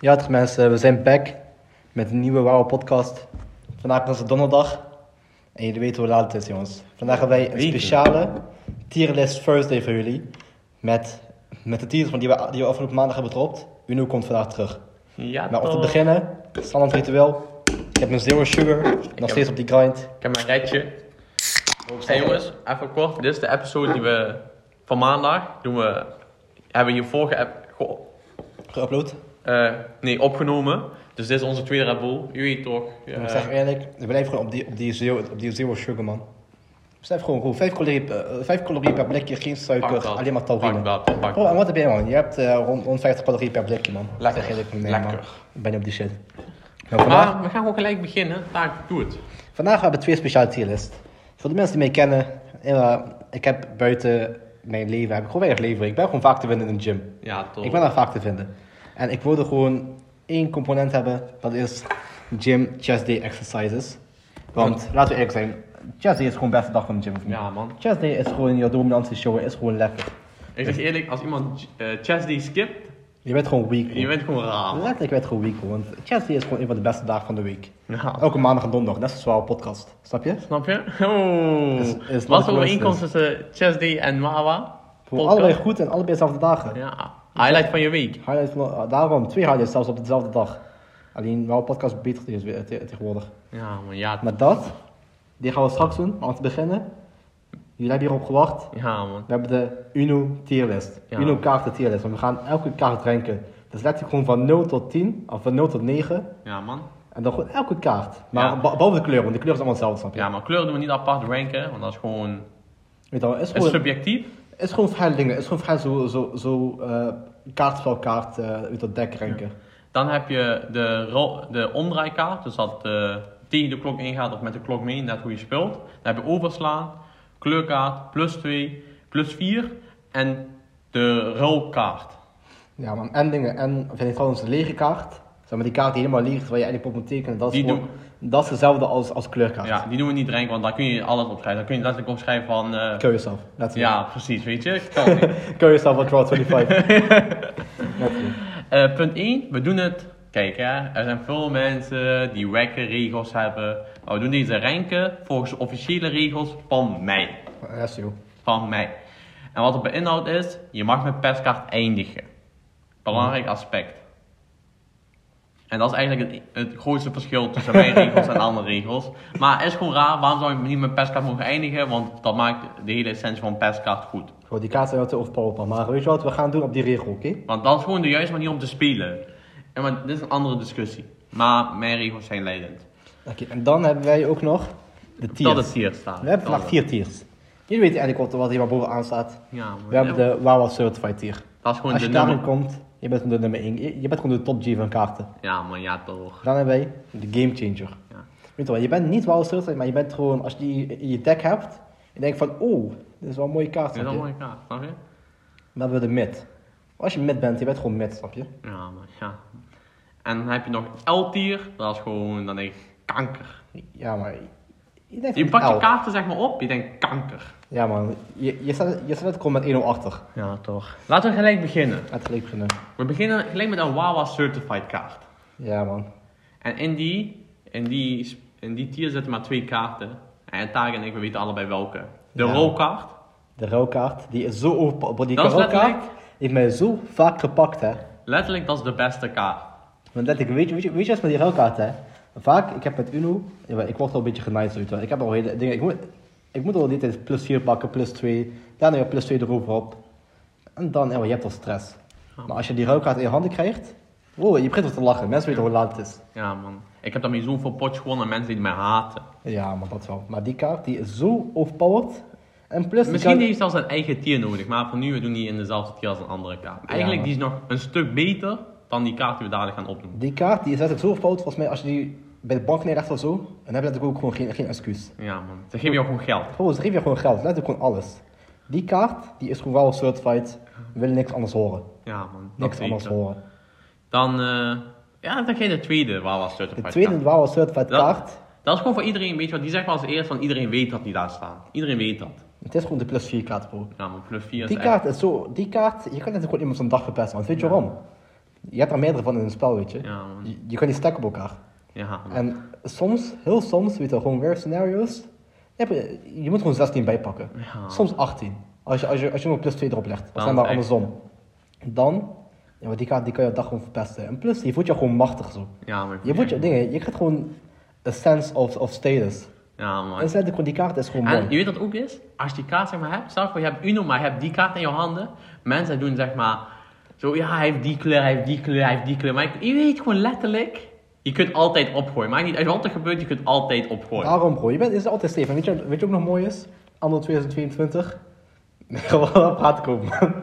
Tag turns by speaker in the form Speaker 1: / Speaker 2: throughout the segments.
Speaker 1: Ja, toch mensen, we zijn back met een nieuwe Wauw podcast. Vandaag is het donderdag en jullie weten hoe laat het is, jongens. Vandaag hebben wij een
Speaker 2: Weten.
Speaker 1: speciale tierlist Thursday voor jullie. Met, met de tiers van die we, die we afgelopen maandag hebben gedropt. Uno komt vandaag terug.
Speaker 2: Ja,
Speaker 1: Maar om te
Speaker 2: toch.
Speaker 1: beginnen, standaard ritueel. Ik heb mijn zero sugar, nog
Speaker 2: heb-
Speaker 1: steeds op die grind.
Speaker 2: Ik heb mijn rijtje. Hey jongens, even kort. Dit is de episode die we van maandag doen we, hebben we hier vorige app ge-
Speaker 1: Geüpload.
Speaker 2: eh, nee, opgenomen. Dus dit is onze tweede Red Bull. U weet toch? eh,
Speaker 1: Ik zeg eerlijk, ik blijf gewoon op die, op die, zero, op die zero sugar, man. Ik blijf gewoon goed. Vijf calorieën, per- eh, vijf calorieën per blikje, geen
Speaker 2: pak
Speaker 1: suiker,
Speaker 2: dat,
Speaker 1: alleen maar Oh, eh, taurine.
Speaker 2: Pak dat, pak
Speaker 1: Bro, en
Speaker 2: dat.
Speaker 1: wat heb jij man? Je hebt eh, rond, rond 50 calorieën per blikje man.
Speaker 2: Lekker,
Speaker 1: Zeg eerlijk,
Speaker 2: lekker. Ah.
Speaker 1: Man. Ik ben niet op die shit. Nou, vandaag,
Speaker 2: Maar we gaan gewoon gelijk beginnen. Taak, doe het.
Speaker 1: vandaag hebben we twee speciale tierlist. Voor de mensen die mij kennen, eh, ik heb buiten mijn leven, heb ik gewoon weinig leven. Ik ben gewoon vaak te vinden in de gym.
Speaker 2: Ja, toch.
Speaker 1: Ik ben daar vaak te vinden. En ik wilde gewoon één component hebben, dat is gym chest day exercises. Want, laten we eerlijk zijn, chest day is gewoon de beste dag van de gym. voor mij.
Speaker 2: Ja, man.
Speaker 1: Chest day is gewoon jouw dominantie show, is gewoon lekker.
Speaker 2: Ik zeg eerlijk, als iemand eh chest day skipt,
Speaker 1: Je bent gewoon weak. man.
Speaker 2: je bent gewoon raar. man.
Speaker 1: Letterlijk werd gewoon week, want Chelsea is gewoon een van de beste dagen van de week.
Speaker 2: Ja.
Speaker 1: Elke maandag en donderdag, net zoals wel een podcast. Snap je?
Speaker 2: Nou, Snap je? Oh.
Speaker 1: Is- is not
Speaker 3: Wat
Speaker 1: a
Speaker 3: voor overeenkomst
Speaker 1: coincidence.
Speaker 3: tussen Chess Day en Wawa?
Speaker 1: Voor allebei goed en allebei dezelfde dagen.
Speaker 3: Ja, highlight van je week.
Speaker 1: Highlights van, eh, daarom, twee highlights zelfs op dezelfde dag. Alleen wel podcast beter is weer- te- tegenwoordig.
Speaker 2: Ja, man, ja.
Speaker 1: Maar dat, die gaan we straks doen. Maar om te beginnen, jullie hebben hierop gewacht.
Speaker 2: Ja, man.
Speaker 1: We hebben de Uno tierlist.
Speaker 2: Ja.
Speaker 1: Uno kaarten tierlist. Want we gaan elke kaart ranken. Dus letterlijk gewoon van 0 tot 10, of van 0 tot 9.
Speaker 2: Ja, man.
Speaker 1: En dan gewoon elke kaart. Maar
Speaker 2: Ja.
Speaker 1: be- behalve de kleur, want de kleur is allemaal hetzelfde, snap je?
Speaker 2: Ja, maar kleur doen we niet apart ranken, want dat is gewoon...
Speaker 1: Weet je wel, is
Speaker 2: Het is
Speaker 1: gewoon,
Speaker 2: subjectief.
Speaker 1: is gewoon verschillende dingen. is gewoon verschillende zo, zo, zo eh, kaart voor kaart eh, uit dat dek renken.
Speaker 2: Dan heb je de, ro- de omdraaikaart, dus dat eh, tegen de klok ingaat of met de klok mee, net hoe je speelt. Dan heb je overslaan, kleurkaart, plus 2, plus 4 en de ruilkaart.
Speaker 1: Ja, man. En dingen. En vind ik trouwens de lege kaart. Zeg maar die kaart die helemaal leeg is, waar je eigenlijk op moet tekenen. Dat is,
Speaker 2: Die
Speaker 1: gewoon, dat is hetzelfde als, als kleurkaart.
Speaker 2: Ja, die doen we niet ranken, want daar kun je alles opschrijven. Daar kun je letterlijk opschrijven van... eh,
Speaker 1: Kill yourself. Let's
Speaker 2: ja, precies, weet je. Kan niet.
Speaker 1: Kill yourself at draw 25. Letterlijk.
Speaker 2: Eh, punt 1, we doen het. Kijk, hè, er zijn veel mensen die wekke regels hebben. Maar we doen deze ranken volgens de officiële regels van mij.
Speaker 1: Yes, joh.
Speaker 2: Van mij. En wat het beinhoudt is, je mag met perskaart eindigen. Belangrijk aspect. En dat is eigenlijk het, het grootste verschil tussen mijn regels en andere regels. Maar het is gewoon raar, waarom zou je niet met perskaart mogen eindigen? Want dat maakt de hele essentie van perskaart goed.
Speaker 1: Bro, die kaart zijn wel te overpowerbaar. Maar weet je wat we gaan doen op die regel, oké?
Speaker 2: Want dat is gewoon de juiste manier om te spelen. En maar, dit is een andere discussie. Maar mijn regels zijn leidend.
Speaker 1: Oké, en dan hebben wij ook nog de tiers.
Speaker 2: Dat het hier staat.
Speaker 1: We hebben vandaag vier tiers. Jullie weten eigenlijk wat, wat hier maar bovenaan staat.
Speaker 2: Ja,
Speaker 1: We hebben de Wawa Certified tier.
Speaker 2: Dat is gewoon
Speaker 1: Als je
Speaker 2: de
Speaker 1: daarin
Speaker 2: nummer...
Speaker 1: komt, je bent gewoon de nummer 1. Je, je bent gewoon de top G van kaarten.
Speaker 2: Ja, man, ja toch.
Speaker 1: Dan hebben wij de Game Changer.
Speaker 2: Ja.
Speaker 1: Weet je wel, je bent niet wel certified, maar je bent gewoon, als je die in je deck hebt, je denkt van, oeh, dit is wel een mooie kaart.
Speaker 2: Dit is
Speaker 1: Snap
Speaker 2: een
Speaker 1: je? Dan
Speaker 2: mooie kaart, snap je?
Speaker 1: hebben we de mid. Als je mid bent, je bent gewoon mid, snap je?
Speaker 2: Ja, man, ja. En dan heb je nog L-tier. Dat is gewoon, dan denk ik, kanker.
Speaker 1: Ja, maar je denkt
Speaker 2: Je
Speaker 1: van,
Speaker 2: pakt je
Speaker 1: "Au."
Speaker 2: kaarten zeg maar op, je denkt kanker.
Speaker 1: Ja man, je, je, staat, je staat gewoon met 1-0 achter.
Speaker 2: Ja, toch. Laten we gelijk beginnen.
Speaker 1: Het gelijk beginnen.
Speaker 2: We beginnen gelijk met een Wawa Certified kaart.
Speaker 1: Ja man.
Speaker 2: En in die, in die, in die tier zitten maar twee kaarten. En Tarek en ik, we weten allebei welke. De
Speaker 1: Ja.
Speaker 2: rolkaart.
Speaker 1: De ruilkaart, die is zo overpowered. Die
Speaker 2: Dat is
Speaker 1: ruilkaart
Speaker 2: letterlijk-
Speaker 1: heeft mij zo vaak gepakt hè.
Speaker 2: Letterlijk, dat is de beste kaart.
Speaker 1: Want letterlijk, weet je, weet je, weet je wat met die ruilkaart hè? Vaak, ik heb met Uno, ja, maar ik word al een beetje genaaid uit. Ik heb al hele dingen, ik moet, ik moet al die tijd plus 4 pakken, plus 2. Daarna weer plus 2 eroverop. En dan, ja, maar je hebt al stress. Maar als je die ruilkaart in je handen krijgt, wow, je begint al te lachen. Mensen weten hoe laat het is.
Speaker 2: Ja, man. Ik heb daarmee zoveel potjes gewonnen en mensen die mij haten.
Speaker 1: Ja, maar dat wel. Maar die kaart, die is zo overpowered. En plus, die
Speaker 2: Misschien
Speaker 1: kan-
Speaker 2: heeft hij zelfs een eigen tier nodig, maar voor nu, we doen die in dezelfde tier als een andere kaart. Eigenlijk,
Speaker 1: man.
Speaker 2: die is nog een stuk beter dan die kaart die we dadelijk gaan opnoemen.
Speaker 1: Die kaart die is letterlijk zo fout, volgens mij, als je die bij de bank neerlegt of zo, dan heb je natuurlijk ook gewoon geen, geen excuus.
Speaker 2: Ja, man. Ze geven jou gewoon geld.
Speaker 1: Gewoon, ze geven je gewoon geld, letterlijk gewoon alles. Die kaart, die is gewoon wel certified, we willen niks anders horen.
Speaker 2: Ja, man. Dat
Speaker 1: Niks
Speaker 2: zeker.
Speaker 1: anders horen.
Speaker 2: Dan, eh, ja, dan ga je de tweede waar
Speaker 1: De
Speaker 2: was certified
Speaker 1: tweede
Speaker 2: kaart.
Speaker 1: wauw certified
Speaker 2: Dat-
Speaker 1: kaart,
Speaker 2: Dat is gewoon voor iedereen, weet je wat, die zegt wel als eerst van iedereen weet dat die daar staan. Iedereen weet dat.
Speaker 1: het is gewoon de plus 4 kaart, bro.
Speaker 2: Ja, man, plus 4 is
Speaker 1: Die
Speaker 2: echt-
Speaker 1: kaart is zo, die kaart, je kan net gewoon iemand zijn dag verpesten, want weet je waarom? Je hebt er meerdere van in een spel, weet je.
Speaker 2: Ja, man.
Speaker 1: Je, je kan die stacken op elkaar.
Speaker 2: Ja, man.
Speaker 1: En soms, heel soms, weet je wel, gewoon rare scenario's. Je, hebt- je moet gewoon 16 bijpakken.
Speaker 2: Ja.
Speaker 1: Soms 18. Als je, als je, als je nog plus 2 erop legt. Of
Speaker 2: Dan
Speaker 1: zijn maar
Speaker 2: echt.
Speaker 1: andersom. Dan, ja, maar die kan, die kan je dag gewoon verpesten. En plus, je voelt je gewoon machtig zo.
Speaker 2: Ja, man.
Speaker 1: Je voelt je, dingen, je krijgt gewoon een sense of, of status.
Speaker 2: Ja,
Speaker 1: En
Speaker 2: man.
Speaker 1: zet gewoon die kaart is gewoon
Speaker 2: En
Speaker 1: mooi.
Speaker 2: je weet dat ook is, als je die kaart zeg maar hebt, stel voor je hebt Uno, maar je hebt die kaart in je handen. Mensen doen zeg maar, zo ja, hij heeft die kleur, hij heeft die kleur, hij heeft die kleur. Maar je, je weet gewoon letterlijk, je kunt altijd opgooien. Maakt niet uit wat er gebeurt, je kunt altijd opgooien.
Speaker 1: Daarom bro, je bent is altijd stevig. En Weet je, weet je ook nog mooi is? Anno 2022. Ik ga wel praten komen, man.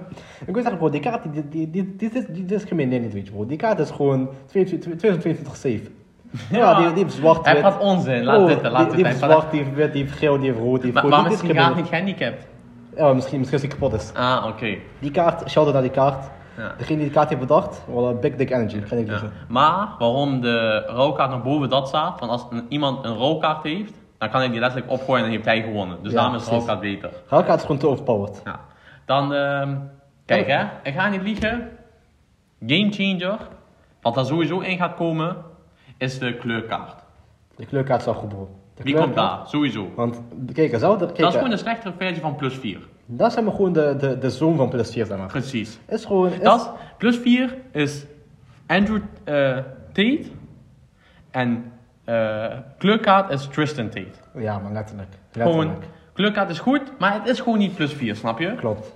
Speaker 1: Ik wil zeggen, bro, die kaart, die, die, die, die, die, die discrimineert niet, weet je, bro. Die kaart is gewoon 2022 safe. Ja, die, die heeft zwart,
Speaker 2: Hij
Speaker 1: wit.
Speaker 2: praat onzin, laat
Speaker 1: Bro,
Speaker 2: zitten,
Speaker 1: die,
Speaker 2: laat
Speaker 1: die
Speaker 2: zitten.
Speaker 1: heeft zwart, die heeft wit, die heeft geel, die heeft rood, die heeft
Speaker 2: Maar
Speaker 1: groen.
Speaker 2: waarom
Speaker 1: Die
Speaker 2: is die kaart
Speaker 1: discrimineert
Speaker 2: niet gehandicapt?
Speaker 1: niet. Ja, misschien, misschien is die kapot is.
Speaker 2: Ah, oké.
Speaker 1: Die kaart, shout-out naar die kaart.
Speaker 2: Ja.
Speaker 1: Degene die die kaart heeft bedacht, wel big dick energy, ga ik
Speaker 2: Ja.
Speaker 1: zeggen.
Speaker 2: Maar waarom de rouwkaart nog boven dat staat, want als een- iemand een rouwkaart heeft, dan kan hij die letterlijk opgooien en dan heeft hij gewonnen. Dus
Speaker 1: Ja,
Speaker 2: daarom is de
Speaker 1: precies.
Speaker 2: rouwkaart beter.
Speaker 1: Raakkaart is gewoon te overpowered.
Speaker 2: Ja. Dan, ehm, kijk hè, ik ga niet liegen. Game changer, wat er sowieso in gaat komen, is de kleurkaart.
Speaker 1: De kleurkaart is wel goed, bro. De
Speaker 2: Die komt
Speaker 1: kleurkaart-
Speaker 2: daar, sowieso.
Speaker 1: Want, kijk, zelfde, kijk,
Speaker 2: Dat is gewoon de slechtere versie van plus 4.
Speaker 1: Dat zijn maar gewoon de, de, de zoom van plus 4, zeg maar.
Speaker 2: Precies.
Speaker 1: Is gewoon... Is,
Speaker 2: Dat, plus 4 is Andrew eh, Tate en eh, kleurkaart is Tristan Tate.
Speaker 1: Ja, maar letterlijk. letterlijk.
Speaker 2: Gewoon, kleurkaart is goed, maar het is gewoon niet plus 4, snap je?
Speaker 1: Klopt.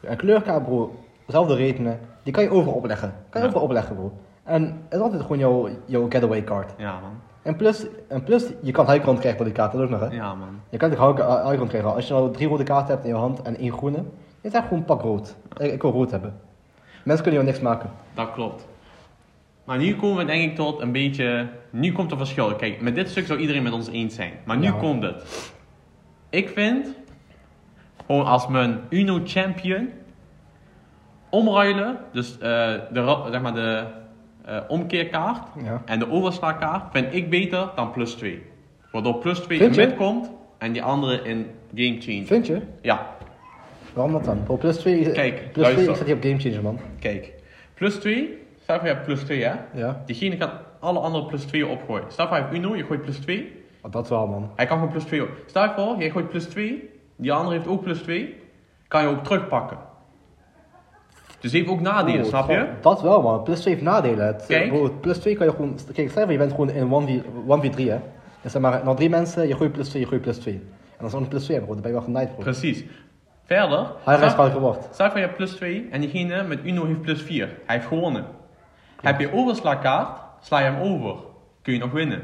Speaker 1: Een kleurkaart, bro. Zelfde redenen. Die kan je overal opleggen. Kan je
Speaker 2: Ja.
Speaker 1: overal opleggen, bro. En het is altijd gewoon jouw, jouw getaway kaart.
Speaker 2: Ja man,
Speaker 1: En plus, en plus, je kan high ground krijgen door die kaart, dat ook nog, hè.
Speaker 2: ja man.
Speaker 1: Je kan ook high high ground krijgen. Als je nou drie rode kaarten hebt in je hand en één groene, dan zeg gewoon pak rood. Ik, ik wil rood hebben. Mensen kunnen jou niks maken.
Speaker 2: Dat klopt. Maar nu komen we denk ik tot een beetje. Nu komt er verschil. Kijk, met dit stuk zou iedereen met ons eens zijn. Maar nu
Speaker 1: Ja.
Speaker 2: komt het. Ik vind. Gewoon als mijn Uno Champion. Omruilen. Dus eh, de, ra- zeg maar de eh, omkeerkaart.
Speaker 1: Ja.
Speaker 2: En de overslagkaart vind ik beter dan plus 2. Waardoor plus 2 in
Speaker 1: Vind je?
Speaker 2: mid komt. En die andere in game change.
Speaker 1: Vind je?
Speaker 2: Ja,
Speaker 1: Waarom dat dan? Bro, plus 2
Speaker 2: Kijk,
Speaker 1: plus twee
Speaker 2: luister.
Speaker 1: staat hier op gamechanger, man.
Speaker 2: kijk. Plus 2. Stel voor je hebt plus 2 hè.
Speaker 1: Ja.
Speaker 2: Diegene kan alle andere plus 2 opgooien. Stel voor hij heeft Uno, je gooit plus 2.
Speaker 1: Oh, Dat wel, man.
Speaker 2: Hij kan gewoon plus 2 op. Stel je voor, jij gooit plus 2. Die andere heeft ook plus 2. Kan je ook terugpakken. Dus heeft ook nadelen,
Speaker 1: Oeh,
Speaker 2: snap je?
Speaker 1: dat- Dat wel, man. Plus 2 heeft nadelen. Het,
Speaker 2: Kijk.
Speaker 1: eh, bro, plus 2 kan je gewoon... Kijk, stel je voor, je bent gewoon in 1v, 1v3, hè. Dus zeg maar, nog drie mensen, je gooit plus 2, je gooit plus 2. En als er nog plus 2 hebt, bro, dan ben je wel genaaid, bro.
Speaker 2: Precies. Verder.
Speaker 1: Hij
Speaker 2: stel-
Speaker 1: is fout geworden.
Speaker 2: Stel voor je hebt plus 2 en diegene met Uno heeft plus 4. Hij heeft gewonnen. Heb je overslagkaart, sla je hem over. Kun je nog winnen.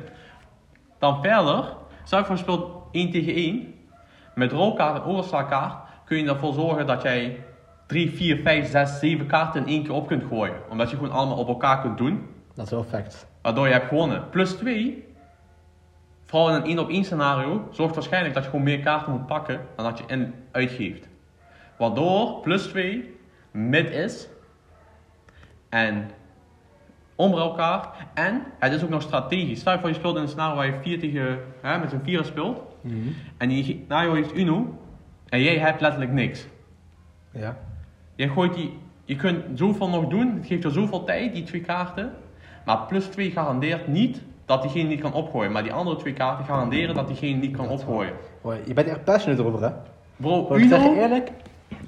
Speaker 2: Dan verder, stel je voor je speelt 1 tegen 1. Met rolkaart en overslagkaart kun je ervoor zorgen dat jij 3, 4, 5, 6, 7 kaarten in één keer op kunt gooien. Omdat je gewoon allemaal op elkaar kunt doen.
Speaker 1: Dat is wel fact.
Speaker 2: Waardoor je hebt gewonnen. Plus 2, vooral in een 1 op 1 scenario, zorgt waarschijnlijk dat je gewoon meer kaarten moet pakken dan dat je in uitgeeft. Waardoor plus 2 mid is en onder elkaar. En het is ook nog strategisch. Stel je voor je speelt in een scenario waar je 4 tegen, hè, met z'n 4 speelt. En die scenario heeft Uno en jij hebt letterlijk niks.
Speaker 1: Ja.
Speaker 2: Je, gooit die, je kunt zoveel nog doen, het geeft je zoveel tijd, die twee kaarten. Maar plus 2 garandeert niet dat diegene niet kan opgooien. Maar die andere twee kaarten garanderen dat diegene niet kan opgooien.
Speaker 1: Bro, je bent echt passionate erover, hè.
Speaker 2: Bro,
Speaker 1: Bro, ik zeg je
Speaker 2: Uno,
Speaker 1: eerlijk...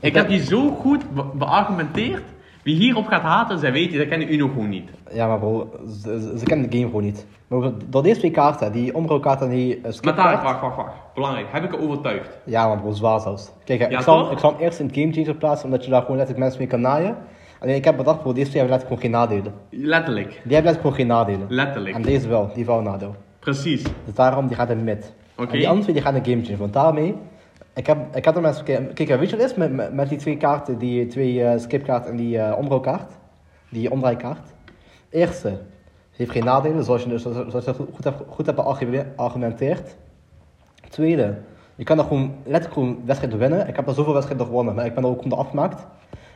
Speaker 2: ik heb die zo goed be- beargumenteerd. Wie hierop gaat haten, zij weten, zij kennen Uno gewoon niet.
Speaker 1: Ja, maar bro, ze, ze- ze kennen de game gewoon niet. Maar bro, door deze twee kaarten, die omrookkaart en die eh,
Speaker 2: Maar daar,
Speaker 1: skipkaart...
Speaker 2: wacht, wacht, wacht. Belangrijk, heb ik er overtuigd?
Speaker 1: Ja, man, bro, zwaar zelfs. Kijk, hè,
Speaker 2: Ja,
Speaker 1: ik, zal, hem-
Speaker 2: toch?
Speaker 1: ik zal hem eerst in het gamechanger plaatsen, omdat je daar gewoon letterlijk mensen mee kan naaien. Alleen ik heb bedacht, bro, deze twee hebben letterlijk gewoon geen nadelen.
Speaker 2: Letterlijk.
Speaker 1: Die hebben letterlijk gewoon geen nadelen. En
Speaker 2: Letterlijk.
Speaker 1: deze wel, die heeft wel een nadeel.
Speaker 2: Precies.
Speaker 1: Dus daarom, die gaat in mid.
Speaker 2: Oké.
Speaker 1: En die andere twee, die gaan in game change. Want daarmee, ik heb, ik had er mensen... Kijk, kijk, weet je wat het is met, met, met die twee kaarten? Die twee eh, skipkaart en die eh omrouwkaart? Die omdraaikaart. Eerste, heeft geen nadelen, zoals je, dus- zoals, zoals je goed, goed hebt, goed hebt geargumenteerd. Tweede, je kan er gewoon letterlijk gewoon wedstrijden winnen. Ik heb er zoveel wedstrijden gewonnen, maar ik ben er ook onder afgemaakt.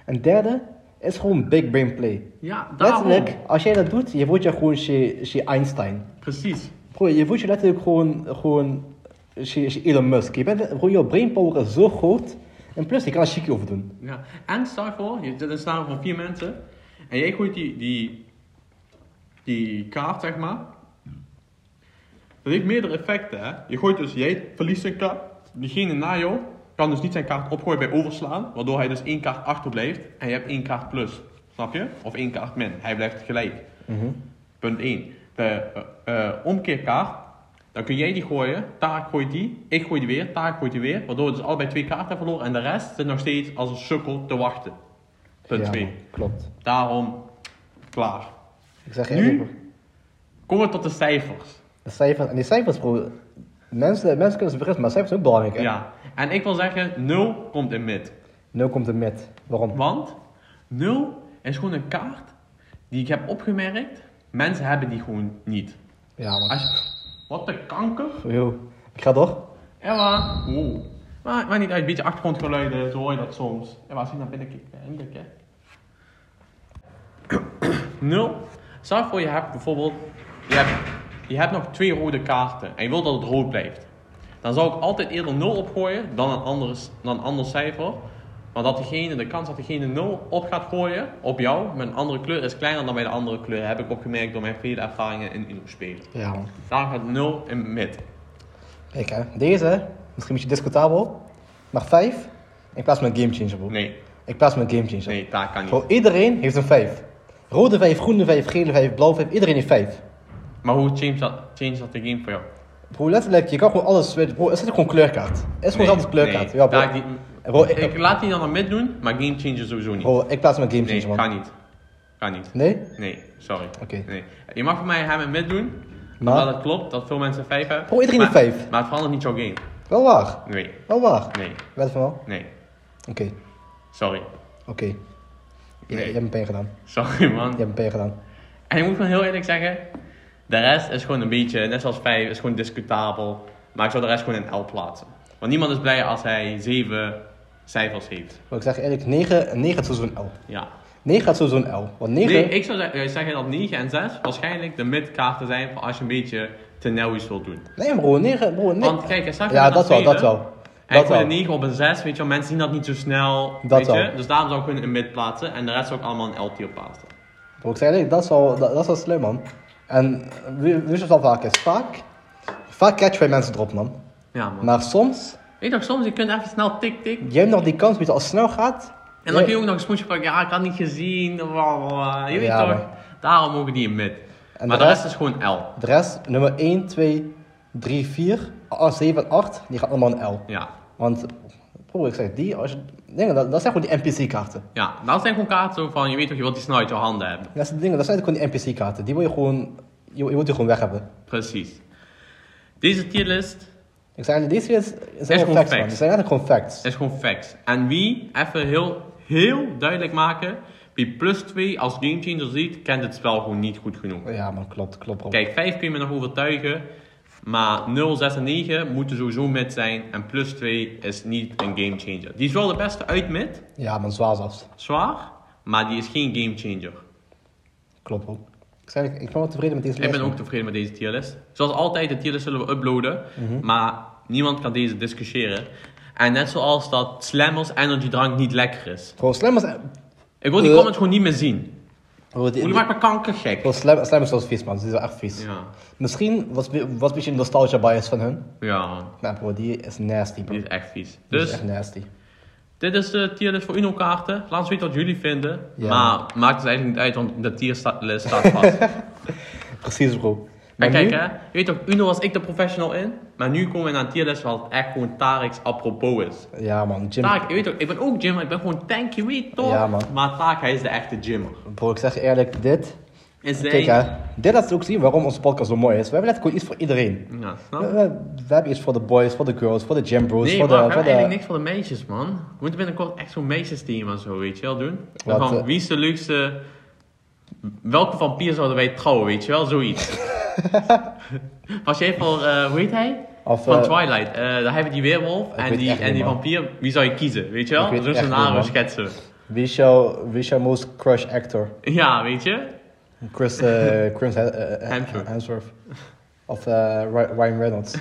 Speaker 1: En derde, is gewoon big brain play.
Speaker 2: Ja, daarom.
Speaker 1: Letterlijk, als jij dat doet, je wordt je gewoon je, je Einstein.
Speaker 2: Precies.
Speaker 1: Bro, je voelt je letterlijk gewoon, gewoon je, je Elon Musk. Je bent, bro, jouw brainpower is zo groot. En plus, je kan er chique over doen.
Speaker 2: Ja. En stel je voor, je zit in een scenario van vier mensen. En jij gooit die, die, die kaart, zeg maar. Dat heeft meerdere effecten, hè. Je gooit dus, jij verliest een kaart. Diegene na jou kan dus niet zijn kaart opgooien bij overslaan. Waardoor hij dus één kaart achterblijft. En je hebt één kaart plus. Snap je? Of één kaart min. Hij blijft gelijk.
Speaker 1: Mhm.
Speaker 2: Punt 1. De eh, eh, omkeerkaart. Dan kun jij die gooien. Taak gooit die. Ik gooi die weer. Taak gooit die weer. Waardoor we dus allebei twee kaarten hebben verloren. En de rest zit nog steeds als een sukkel te wachten. Punt
Speaker 1: Ja,
Speaker 2: 2.
Speaker 1: man, Klopt.
Speaker 2: Daarom, klaar.
Speaker 1: Ik zeg
Speaker 2: Nu?
Speaker 1: nu?
Speaker 2: Komen we tot de cijfers.
Speaker 1: Cijfers, en die cijfers, bro. Mensen, mensen kunnen ze vergissen, maar cijfers zijn ook belangrijk, hè?
Speaker 2: Ja. En ik wil zeggen, 0 komt in mid.
Speaker 1: Nul komt er met. Waarom?
Speaker 2: Want 0 is gewoon een kaart die ik heb opgemerkt. Mensen hebben die gewoon niet.
Speaker 1: Ja, man.
Speaker 2: Als je- Wat de kanker.
Speaker 1: Yo. Ik ga door.
Speaker 2: Emma. Wow. Maar, maar niet uit, een beetje achtergrondgeluiden, zo hoor je dat soms. Emma, als je naar binnen kijkt, eh, indruk, hè. Nul. Stel voor je hebt bijvoorbeeld, je hebt, je hebt nog twee rode kaarten en je wilt dat het rood blijft. Dan zou ik altijd eerder 0 opgooien dan een, andere, s- dan een ander cijfer. Want dat degene, de kans dat degene 0 op gaat gooien op jou met een andere kleur is kleiner dan bij de andere kleur. Heb ik opgemerkt door mijn vele ervaringen in Uno spelen.
Speaker 1: Ja, man.
Speaker 2: Daar gaat 0 in mid.
Speaker 1: Kijk, hè. Deze, misschien een beetje discutabel. Maar 5 in plaats van een gamechanger, bro.
Speaker 2: Nee,
Speaker 1: Ik plaats mijn gamechanger.
Speaker 2: nee, daar kan niet.
Speaker 1: Voor iedereen heeft een 5. Rode 5, groene 5, gele 5, blauwe 5. Iedereen heeft 5.
Speaker 2: Maar hoe change dat, change dat de game voor jou?
Speaker 1: Bro, letterlijk, je kan gewoon alles switchen. Bro, er zit gewoon kleurkaart. Er is gewoon
Speaker 2: Nee,
Speaker 1: altijd kleurkaart.
Speaker 2: nee,
Speaker 1: ja, bro.
Speaker 2: daar die-
Speaker 1: Bro, ik,
Speaker 2: ik, laat die dan aan mid doen, maar game changer sowieso niet.
Speaker 1: bro, Oh, ik plaats mijn gamechanger,
Speaker 2: nee,
Speaker 1: man.
Speaker 2: kan niet. Kan niet.
Speaker 1: Nee?
Speaker 2: Nee, sorry.
Speaker 1: Oké.
Speaker 2: Nee. Je mag voor mij hem en mid doen,
Speaker 1: Maar?
Speaker 2: omdat het klopt dat veel mensen 5 hebben.
Speaker 1: Bro, iedereen
Speaker 2: maar,
Speaker 1: heeft vijf.
Speaker 2: Maar het verandert niet jouw game.
Speaker 1: Wel waar.
Speaker 2: Nee,
Speaker 1: Wel waar.
Speaker 2: nee,
Speaker 1: Weet van wel? Oké.
Speaker 2: nee.
Speaker 1: Oké.
Speaker 2: Sorry.
Speaker 1: Je,
Speaker 2: Nee.
Speaker 1: je hebt me pijn gedaan.
Speaker 2: Sorry man.
Speaker 1: Je hebt me pijn gedaan.
Speaker 2: En ik moet gewoon heel eerlijk zeggen, de rest is gewoon een beetje, net zoals 5, is gewoon discutabel. Maar ik zou de rest gewoon in L plaatsen. Want niemand is blij als hij 7 cijfers heeft.
Speaker 1: Maar ik zeg je eerlijk, 9, 9 gaat sowieso een L.
Speaker 2: Ja.
Speaker 1: 9 gaat sowieso een L. Want 9...
Speaker 2: Nee, ik zou zeggen, eh, zeggen dat 9 en 6 waarschijnlijk de midkaarten zijn voor als je een beetje tenellies wilt doen.
Speaker 1: Nee, bro, 9, bro, nee.
Speaker 2: Want kijk, er staat
Speaker 1: Ja,
Speaker 2: iemand
Speaker 1: dat
Speaker 2: aan
Speaker 1: wel,
Speaker 2: het
Speaker 1: dat
Speaker 2: spelen.
Speaker 1: wel.
Speaker 2: En ik
Speaker 1: Dat
Speaker 2: gooi een
Speaker 1: wel.
Speaker 2: 9 op een 6, weet je wel, mensen zien dat niet zo snel.
Speaker 1: Dat
Speaker 2: weet je?
Speaker 1: wel.
Speaker 2: Dus daarom zou ik gewoon een mid plaatsen en de rest zou ik allemaal een LT op plaatsen.
Speaker 1: Bro, ik zeg eerlijk, dat is wel, dat, dat is wel slim, man. En wie- weet je wat wel vaak is? Vaak, vaak catchen wij mensen erop, man.
Speaker 2: Ja, man.
Speaker 1: Maar soms,
Speaker 2: Weet je toch, soms je kunt even snel tik tik.
Speaker 1: jij hebt nog die kans, weet je, als het snel gaat...
Speaker 2: En dan kun
Speaker 1: jij-
Speaker 2: je ook nog een smoesje pakken, ja, ik had niet gezien, bla, bla, bla. Je weet
Speaker 1: Ja,
Speaker 2: toch?
Speaker 1: man.
Speaker 2: Daarom mogen die in mid.
Speaker 1: En
Speaker 2: maar
Speaker 1: de
Speaker 2: de rest is gewoon L.
Speaker 1: De rest, nummer 1, 2, 3, 4, 7 en 8, die gaan allemaal een L.
Speaker 2: Ja.
Speaker 1: Want, bro, ik zeg, die, als je, dingen, dat, dat zijn gewoon die NPC-kaarten.
Speaker 2: Ja, dat zijn gewoon kaarten zo van, je weet toch, je wilt die snel uit je handen hebben.
Speaker 1: Dat zijn dingen, dat zijn gewoon die NPC-kaarten. Die wil je gewoon, je, je wilt die gewoon weg hebben.
Speaker 2: Precies. Deze tierlist
Speaker 1: Ik zeg, eigenlijk, deze is, zijn gewoon facts,
Speaker 2: gewoon
Speaker 1: man.
Speaker 2: facts.
Speaker 1: Die zijn eigenlijk gewoon facts.
Speaker 2: is gewoon facts. En wie, even heel, heel duidelijk maken, wie plus 2 als gamechanger ziet, kent het spel gewoon niet goed genoeg.
Speaker 1: Ja, man, klopt, klopt, bro.
Speaker 2: Kijk, 5 kun je me nog overtuigen, maar 0, 6 en 9 moeten sowieso mid zijn. En plus 2 is niet een gamechanger. Die is wel de beste uit mid,
Speaker 1: Ja, man, zwaar zelfs.
Speaker 2: zwaar, maar die is geen gamechanger.
Speaker 1: Klopt, bro. Ik zeg, eigenlijk, ik ben wel tevreden met deze
Speaker 2: Ik ben
Speaker 1: lijst,
Speaker 2: ook tevreden met deze tierlist. Zoals altijd, de tierlist zullen we uploaden. Maar niemand kan deze discussiëren. En net zoals dat Slammers energiedrank niet lekker is.
Speaker 1: man. Bro, slam is...
Speaker 2: Ik wil die
Speaker 1: Eh.
Speaker 2: comments gewoon niet meer zien.
Speaker 1: Bro, die-
Speaker 2: Jullie maken me kankergek.
Speaker 1: bro, slam, slam is wel vies, man. Die is wel echt vies.
Speaker 2: Ja.
Speaker 1: Misschien was, was een beetje een nostalgia bias van hun.
Speaker 2: ja,
Speaker 1: Maar bro, die is nasty, bro.
Speaker 2: dit is echt vies.
Speaker 1: Die is
Speaker 2: Dus,
Speaker 1: echt nasty.
Speaker 2: dit is de tierlist voor Uno-kaarten. Laat ons weten wat jullie vinden.
Speaker 1: Ja.
Speaker 2: Maar maakt het eigenlijk niet uit, want de tierlist staat vast.
Speaker 1: Precies, bro. Maar
Speaker 2: en kijk
Speaker 1: nu-
Speaker 2: hè, je weet toch, Uno was ik de professional in. Maar nu komen we naar een tierlist waar het echt gewoon Tarek's apropos is.
Speaker 1: Ja, man. Jim...
Speaker 2: Taak, je weet toch, ik ben ook Jimmer, ik ben gewoon tank, je weet toch?
Speaker 1: Ja, man.
Speaker 2: Maar Taak, hij is de echte Jimmer.
Speaker 1: Bro, ik zeg je eerlijk, dit...
Speaker 2: En zijn...
Speaker 1: Kijk, hè. Dit laat ook zien waarom onze podcast zo mooi is. We hebben net gewoon iets voor iedereen.
Speaker 2: Ja,
Speaker 1: We,
Speaker 2: snap?
Speaker 1: we- we hebben iets voor de boys, voor de girls, voor de gym bros,
Speaker 2: Nee,
Speaker 1: voor
Speaker 2: maar
Speaker 1: de...
Speaker 2: we hebben
Speaker 1: voor de...
Speaker 2: eigenlijk niks voor de meisjes, man. We moeten binnenkort echt zo'n meisjesteam en zo, weet je wel, doen. En
Speaker 1: Wat,
Speaker 2: van,
Speaker 1: eh?
Speaker 2: wie is de leukste... Welke vampier zouden wij trouwen, weet je wel? Zoiets. Was jij voor, eh, hoe heet hij?
Speaker 1: Of,
Speaker 2: van
Speaker 1: eh,
Speaker 2: Twilight. Eh, daar hebben we die weerwolf en
Speaker 1: weet
Speaker 2: die,
Speaker 1: echt
Speaker 2: en
Speaker 1: niet,
Speaker 2: die
Speaker 1: man.
Speaker 2: vampier. Wie zou je kiezen, weet je
Speaker 1: Ik
Speaker 2: wel?
Speaker 1: weet
Speaker 2: Zo'n
Speaker 1: echt niet,
Speaker 2: scenario
Speaker 1: man.
Speaker 2: schetsen.
Speaker 1: Wie is jouw wie is jouw most crush actor?
Speaker 2: Ja, weet je?
Speaker 1: Chris, eh Chris eh, eh,
Speaker 2: Hemsworth.
Speaker 1: Hemsworth. Of eh, Ry- Ryan Reynolds.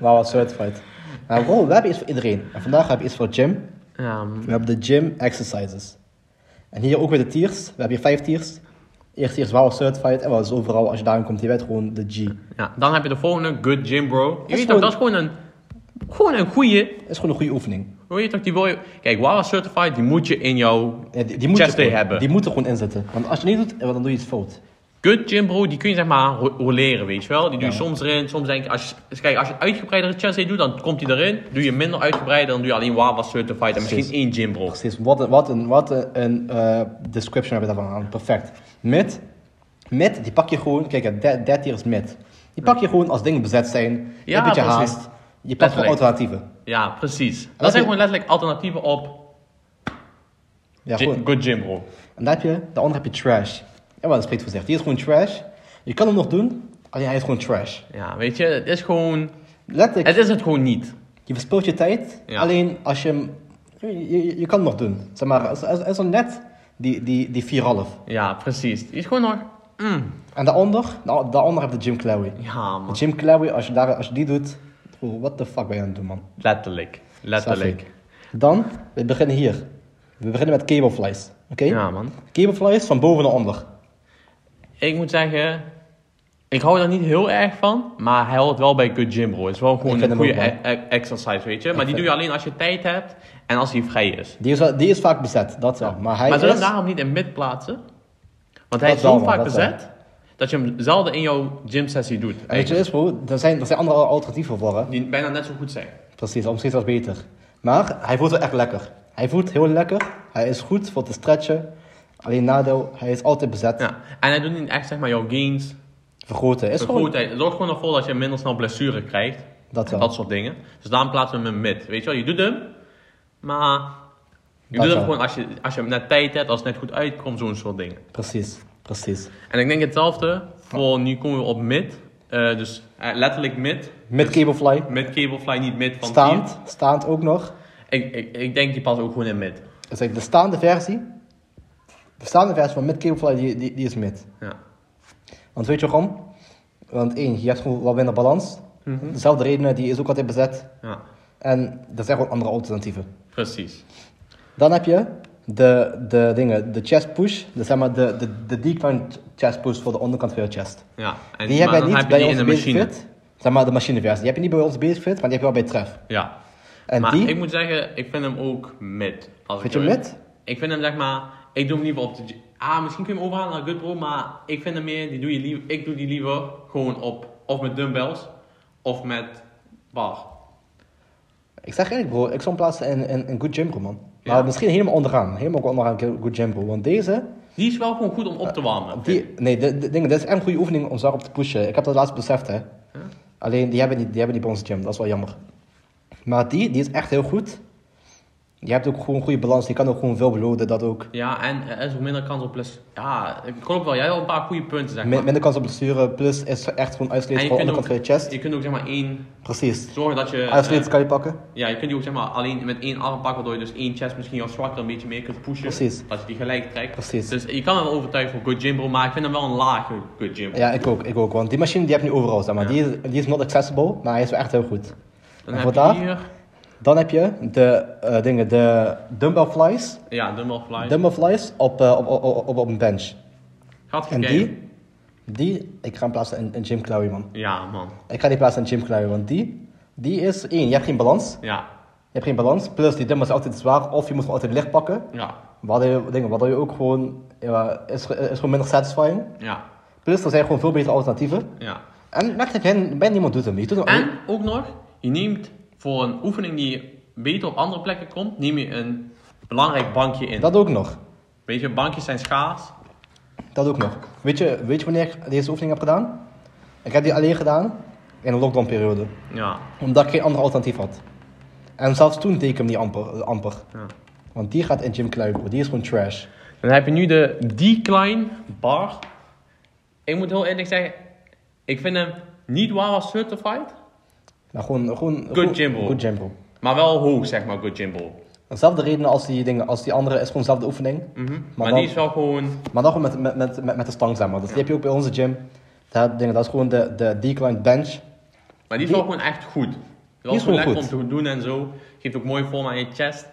Speaker 1: nou, wat certified. Nou, bro, we hebben iets voor iedereen. En vandaag hebben we iets voor gym.
Speaker 2: Ja,
Speaker 1: We hebben de gym exercises. En hier ook weer de tiers. We hebben hier vijf tiers. Eerste tier is wel certified. En wat is overal, als je daarin komt, je weet gewoon de G.
Speaker 2: Ja, dan heb je de volgende, Good Gym Bro. Je
Speaker 1: is
Speaker 2: weet toch,
Speaker 1: gewoon-
Speaker 2: dat is gewoon een, gewoon een goede.
Speaker 1: Het is gewoon een goede oefening.
Speaker 2: Hoe je toch, die wil je... Kijk, Wawa Certified, die moet je in jouw
Speaker 1: Ja, die, die moet je
Speaker 2: Chest day
Speaker 1: gewoon-
Speaker 2: hebben.
Speaker 1: Die moeten gewoon inzetten. Want als je niet doet, eh, dan doe je iets fout.
Speaker 2: Good gym bro, die kun je zeg maar ro- roleren, weet je wel. Die doe je soms erin, soms denk ik, als je, dus kijk, als je een uitgebreidere chest day doet, dan komt die erin. Doe je minder uitgebreid, dan doe je alleen Wawa certified en misschien één gym bro.
Speaker 1: Precies, wat een, wat een, wat een, een, eh, description heb je daarvan aan. Perfect. Mid, mid, die pak je gewoon, kijk, hè, dat dat hier is mid. Die pak je gewoon als dingen bezet zijn, je
Speaker 2: Ja,
Speaker 1: hebt een beetje
Speaker 2: precies.
Speaker 1: haast. Je pakt gewoon
Speaker 2: Letterlijk.
Speaker 1: alternatieven.
Speaker 2: Ja, precies. Dat,
Speaker 1: heb je-
Speaker 2: zijn gewoon letterlijk alternatieven op
Speaker 1: Ja,
Speaker 2: gy-
Speaker 1: goed.
Speaker 2: good gym bro.
Speaker 1: En dan heb je, de andere heb je trash. Ja, wat dat spreekt voor zich. Die is gewoon trash. Je kan hem nog doen, alleen hij is gewoon trash.
Speaker 2: Ja, weet je, het is gewoon,
Speaker 1: Letterlijk,
Speaker 2: het is het gewoon niet.
Speaker 1: je verspilt je tijd,
Speaker 2: Ja.
Speaker 1: alleen als je hem, je, je, je kan hem nog doen. Zeg maar, het is- het is dan net die, die, die 4,5.
Speaker 2: Ja, precies. Die is gewoon nog, mm.
Speaker 1: En nou, daaronder, da- daaronder heb je Jim Clary.
Speaker 2: ja
Speaker 1: De
Speaker 2: man,
Speaker 1: Jim Clary, als je, daar, als je die doet, oh, what the fuck ben je aan het doen, man?
Speaker 2: letterlijk,
Speaker 1: Snap
Speaker 2: letterlijk.
Speaker 1: je? Dan, we beginnen hier. We beginnen met cableflies, oké?
Speaker 2: Ja man.
Speaker 1: Cableflies van boven naar onder.
Speaker 2: Ik moet zeggen, ik hou daar niet heel erg van, maar hij hoort wel bij Good Gym, bro. Het is wel
Speaker 1: Ik
Speaker 2: gewoon
Speaker 1: vind
Speaker 2: een
Speaker 1: hem
Speaker 2: goede
Speaker 1: ook,
Speaker 2: e- e- exercise, weet je. Maar die
Speaker 1: vind-
Speaker 2: doe je alleen als je tijd hebt en als hij vrij is.
Speaker 1: Die is, wel- die is vaak bezet, dat wel. Maar hij
Speaker 2: maar zullen we
Speaker 1: is...
Speaker 2: hem daarom niet in mid plaatsen? Want hij
Speaker 1: Dat
Speaker 2: is
Speaker 1: wel,
Speaker 2: zo
Speaker 1: man,
Speaker 2: vaak
Speaker 1: dat wel.
Speaker 2: bezet, dat je hem zelden in jouw gymsessie doet.
Speaker 1: En weet je wat is, bro? Er zijn, er zijn andere alternatieven voor, hè?
Speaker 2: Die bijna net zo goed zijn.
Speaker 1: Precies, of misschien zelfs beter. Maar hij voelt wel echt lekker. Hij voelt heel lekker. Hij is goed voor te stretchen. Alleen nadeel, hij is altijd bezet.
Speaker 2: Ja. En hij doet niet echt zeg maar jouw gains.
Speaker 1: Vergroten. Is gewoon...
Speaker 2: Goed, hij zorgt gewoon ervoor dat je minder snel blessure krijgt.
Speaker 1: Dat wel.
Speaker 2: Dat soort dingen. Dus daarom plaatsen we hem in mid. Weet je wel, je doet hem, maar je
Speaker 1: Dat
Speaker 2: doet
Speaker 1: wel.
Speaker 2: hem gewoon als je, als je net tijd hebt, als het net goed uitkomt, zo'n soort dingen.
Speaker 1: Precies, precies.
Speaker 2: En ik denk hetzelfde voor nu komen we op mid. Eh, dus eh, letterlijk mid.
Speaker 1: Met cablefly.
Speaker 2: Mid cablefly, niet mid van
Speaker 1: Staand, staand ook nog.
Speaker 2: tier. Ik, ik, ik denk die past ook gewoon in mid.
Speaker 1: Dus eigenlijk de staande versie. De staande versie van mid cablefly, die, die, die is mid.
Speaker 2: Ja.
Speaker 1: Want weet je waarom? Want één, je hebt gewoon wat minder balans.
Speaker 2: Mhm.
Speaker 1: Dezelfde redenen, die is ook altijd bezet.
Speaker 2: ja,
Speaker 1: En er zijn gewoon andere alternatieven.
Speaker 2: precies.
Speaker 1: Dan heb je de, de dingen, de chest push. Dus zeg maar de, de, de decline chest push voor de onderkant van je chest.
Speaker 2: Ja. En
Speaker 1: Die hebben
Speaker 2: maar dan
Speaker 1: wij niet
Speaker 2: heb je
Speaker 1: bij
Speaker 2: die in
Speaker 1: onze
Speaker 2: de
Speaker 1: basic
Speaker 2: machine.
Speaker 1: fit. Zeg maar de machineversie. Die heb je niet bij ons basic fit, maar die heb je wel bij tref.
Speaker 2: Ja.
Speaker 1: En
Speaker 2: maar
Speaker 1: die,
Speaker 2: ik moet zeggen, ik vind hem ook mid. Als
Speaker 1: Vind
Speaker 2: ik
Speaker 1: je
Speaker 2: heel-
Speaker 1: mid?
Speaker 2: Ik vind hem zeg maar, ik doe hem liever op de... gy- Ah, misschien kun je hem overhalen naar Goodbro, maar ik vind hem meer, die doe je liever, ik doe die liever gewoon op, of met dumbbells, of met bar.
Speaker 1: ik zeg eerlijk bro, ik zou hem plaatsen in, in, in Good Gym Bro man. Maar
Speaker 2: Ja.
Speaker 1: misschien helemaal onderaan. Helemaal onderaan Good Gym Bro. Want deze,
Speaker 2: Die is wel gewoon goed om op te warmen.
Speaker 1: Eh, die, nee, de, de, dingen, dit is echt een goede oefening om daarop te pushen. Ik heb dat laatst beseft hè. Alleen die hebben, niet, die hebben niet bij onze gym, dat is wel jammer. Maar die, die is echt heel goed. Je hebt ook gewoon een goede balans, je kan ook gewoon veel beloden, dat ook.
Speaker 2: Ja, en er is ook minder kans op plus. Ja, ik klopt wel. Jij hebt wel een paar goede punten, zeg maar.
Speaker 1: Min- minder kans op blessure, plus is echt gewoon
Speaker 2: en
Speaker 1: uitsleten
Speaker 2: Ah, je
Speaker 1: van de
Speaker 2: kunt,
Speaker 1: onderkant van je
Speaker 2: ook,
Speaker 1: chest.
Speaker 2: je kunt ook, zeg maar, één...
Speaker 1: Precies.
Speaker 2: Zorgen dat je...
Speaker 1: Uitsleten
Speaker 2: eh,
Speaker 1: kan je pakken.
Speaker 2: ja, je kunt die ook, zeg maar, alleen met één arm pakken, waardoor je dus één chest misschien jouw zwakker een beetje meer kunt pushen.
Speaker 1: Precies.
Speaker 2: Dat je die gelijk trekt.
Speaker 1: Precies.
Speaker 2: Dus je kan hem wel overtuigen voor Good Gym Bro, maar ik vind hem wel een lage Good Gym Bro.
Speaker 1: Ja, ik ook, ik ook. Want die machine die heb je nu overal, zeg maar. Die, is, die is not accessible, maar hij is wel echt heel goed.
Speaker 2: Dan
Speaker 1: En
Speaker 2: heb
Speaker 1: voor
Speaker 2: je
Speaker 1: daar?
Speaker 2: hier...
Speaker 1: Dan heb je de eh, dingen, de dumbbell flies.
Speaker 2: Ja, dumbbell fly.
Speaker 1: Dumbbell flies op, eh, op, op, op, op een bench.
Speaker 2: Gaat
Speaker 1: En
Speaker 2: gekeken.
Speaker 1: die, die, ik ga hem plaatsen in, in Jim Clary, man.
Speaker 2: Ja, man.
Speaker 1: Ik ga die plaatsen in Jim Clary, want die, die is één, je hebt geen balans.
Speaker 2: Ja.
Speaker 1: Je hebt geen balans, plus die dumbbell is altijd zwaar, of je moet hem altijd licht pakken.
Speaker 2: Ja.
Speaker 1: Waardoor je, dingen, waardoor je ook gewoon, ja, is, is gewoon minder satisfying.
Speaker 2: Ja.
Speaker 1: Plus, er zijn gewoon veel betere alternatieven.
Speaker 2: Ja.
Speaker 1: En merk ik, bij niemand doet hem. Je doet hem
Speaker 2: En ook nog, je neemt voor een oefening die beter op andere plekken komt, neem je een belangrijk bankje in.
Speaker 1: Dat ook nog.
Speaker 2: Weet je, bankjes zijn schaars.
Speaker 1: Dat ook nog. Weet je, weet je wanneer ik deze oefening heb gedaan? Ik heb die alleen gedaan in de lockdownperiode.
Speaker 2: Ja,
Speaker 1: Omdat ik geen ander alternatief had. En zelfs toen deed ik hem niet amper. amper.
Speaker 2: ja.
Speaker 1: Want die gaat in Jim Kluiber. Die is gewoon trash.
Speaker 2: Dan heb je nu de decline bar. Ik moet heel eerlijk zeggen, ik vind hem niet Wawa certified,
Speaker 1: Maar Nou, gewoon... gewoon Good
Speaker 2: Jim Bro.
Speaker 1: Good Jim Bro.
Speaker 2: maar wel hoog, zeg maar, Good Jimbo.
Speaker 1: Dezelfde reden als die, dingen, als die andere is gewoon dezelfde oefening.
Speaker 2: Mhm. Maar,
Speaker 1: Maar, dan,
Speaker 2: die is wel gewoon,
Speaker 1: maar dan gewoon met, met, met, met de stang, zeg maar. Dat die heb je ook bij onze gym. Dat, dingen, dat is gewoon de, de decline bench.
Speaker 2: maar die is wel gewoon echt goed. Wel
Speaker 1: is
Speaker 2: gewoon
Speaker 1: gewoon
Speaker 2: lekker om te doen en zo. Geeft ook mooie vorm aan je chest.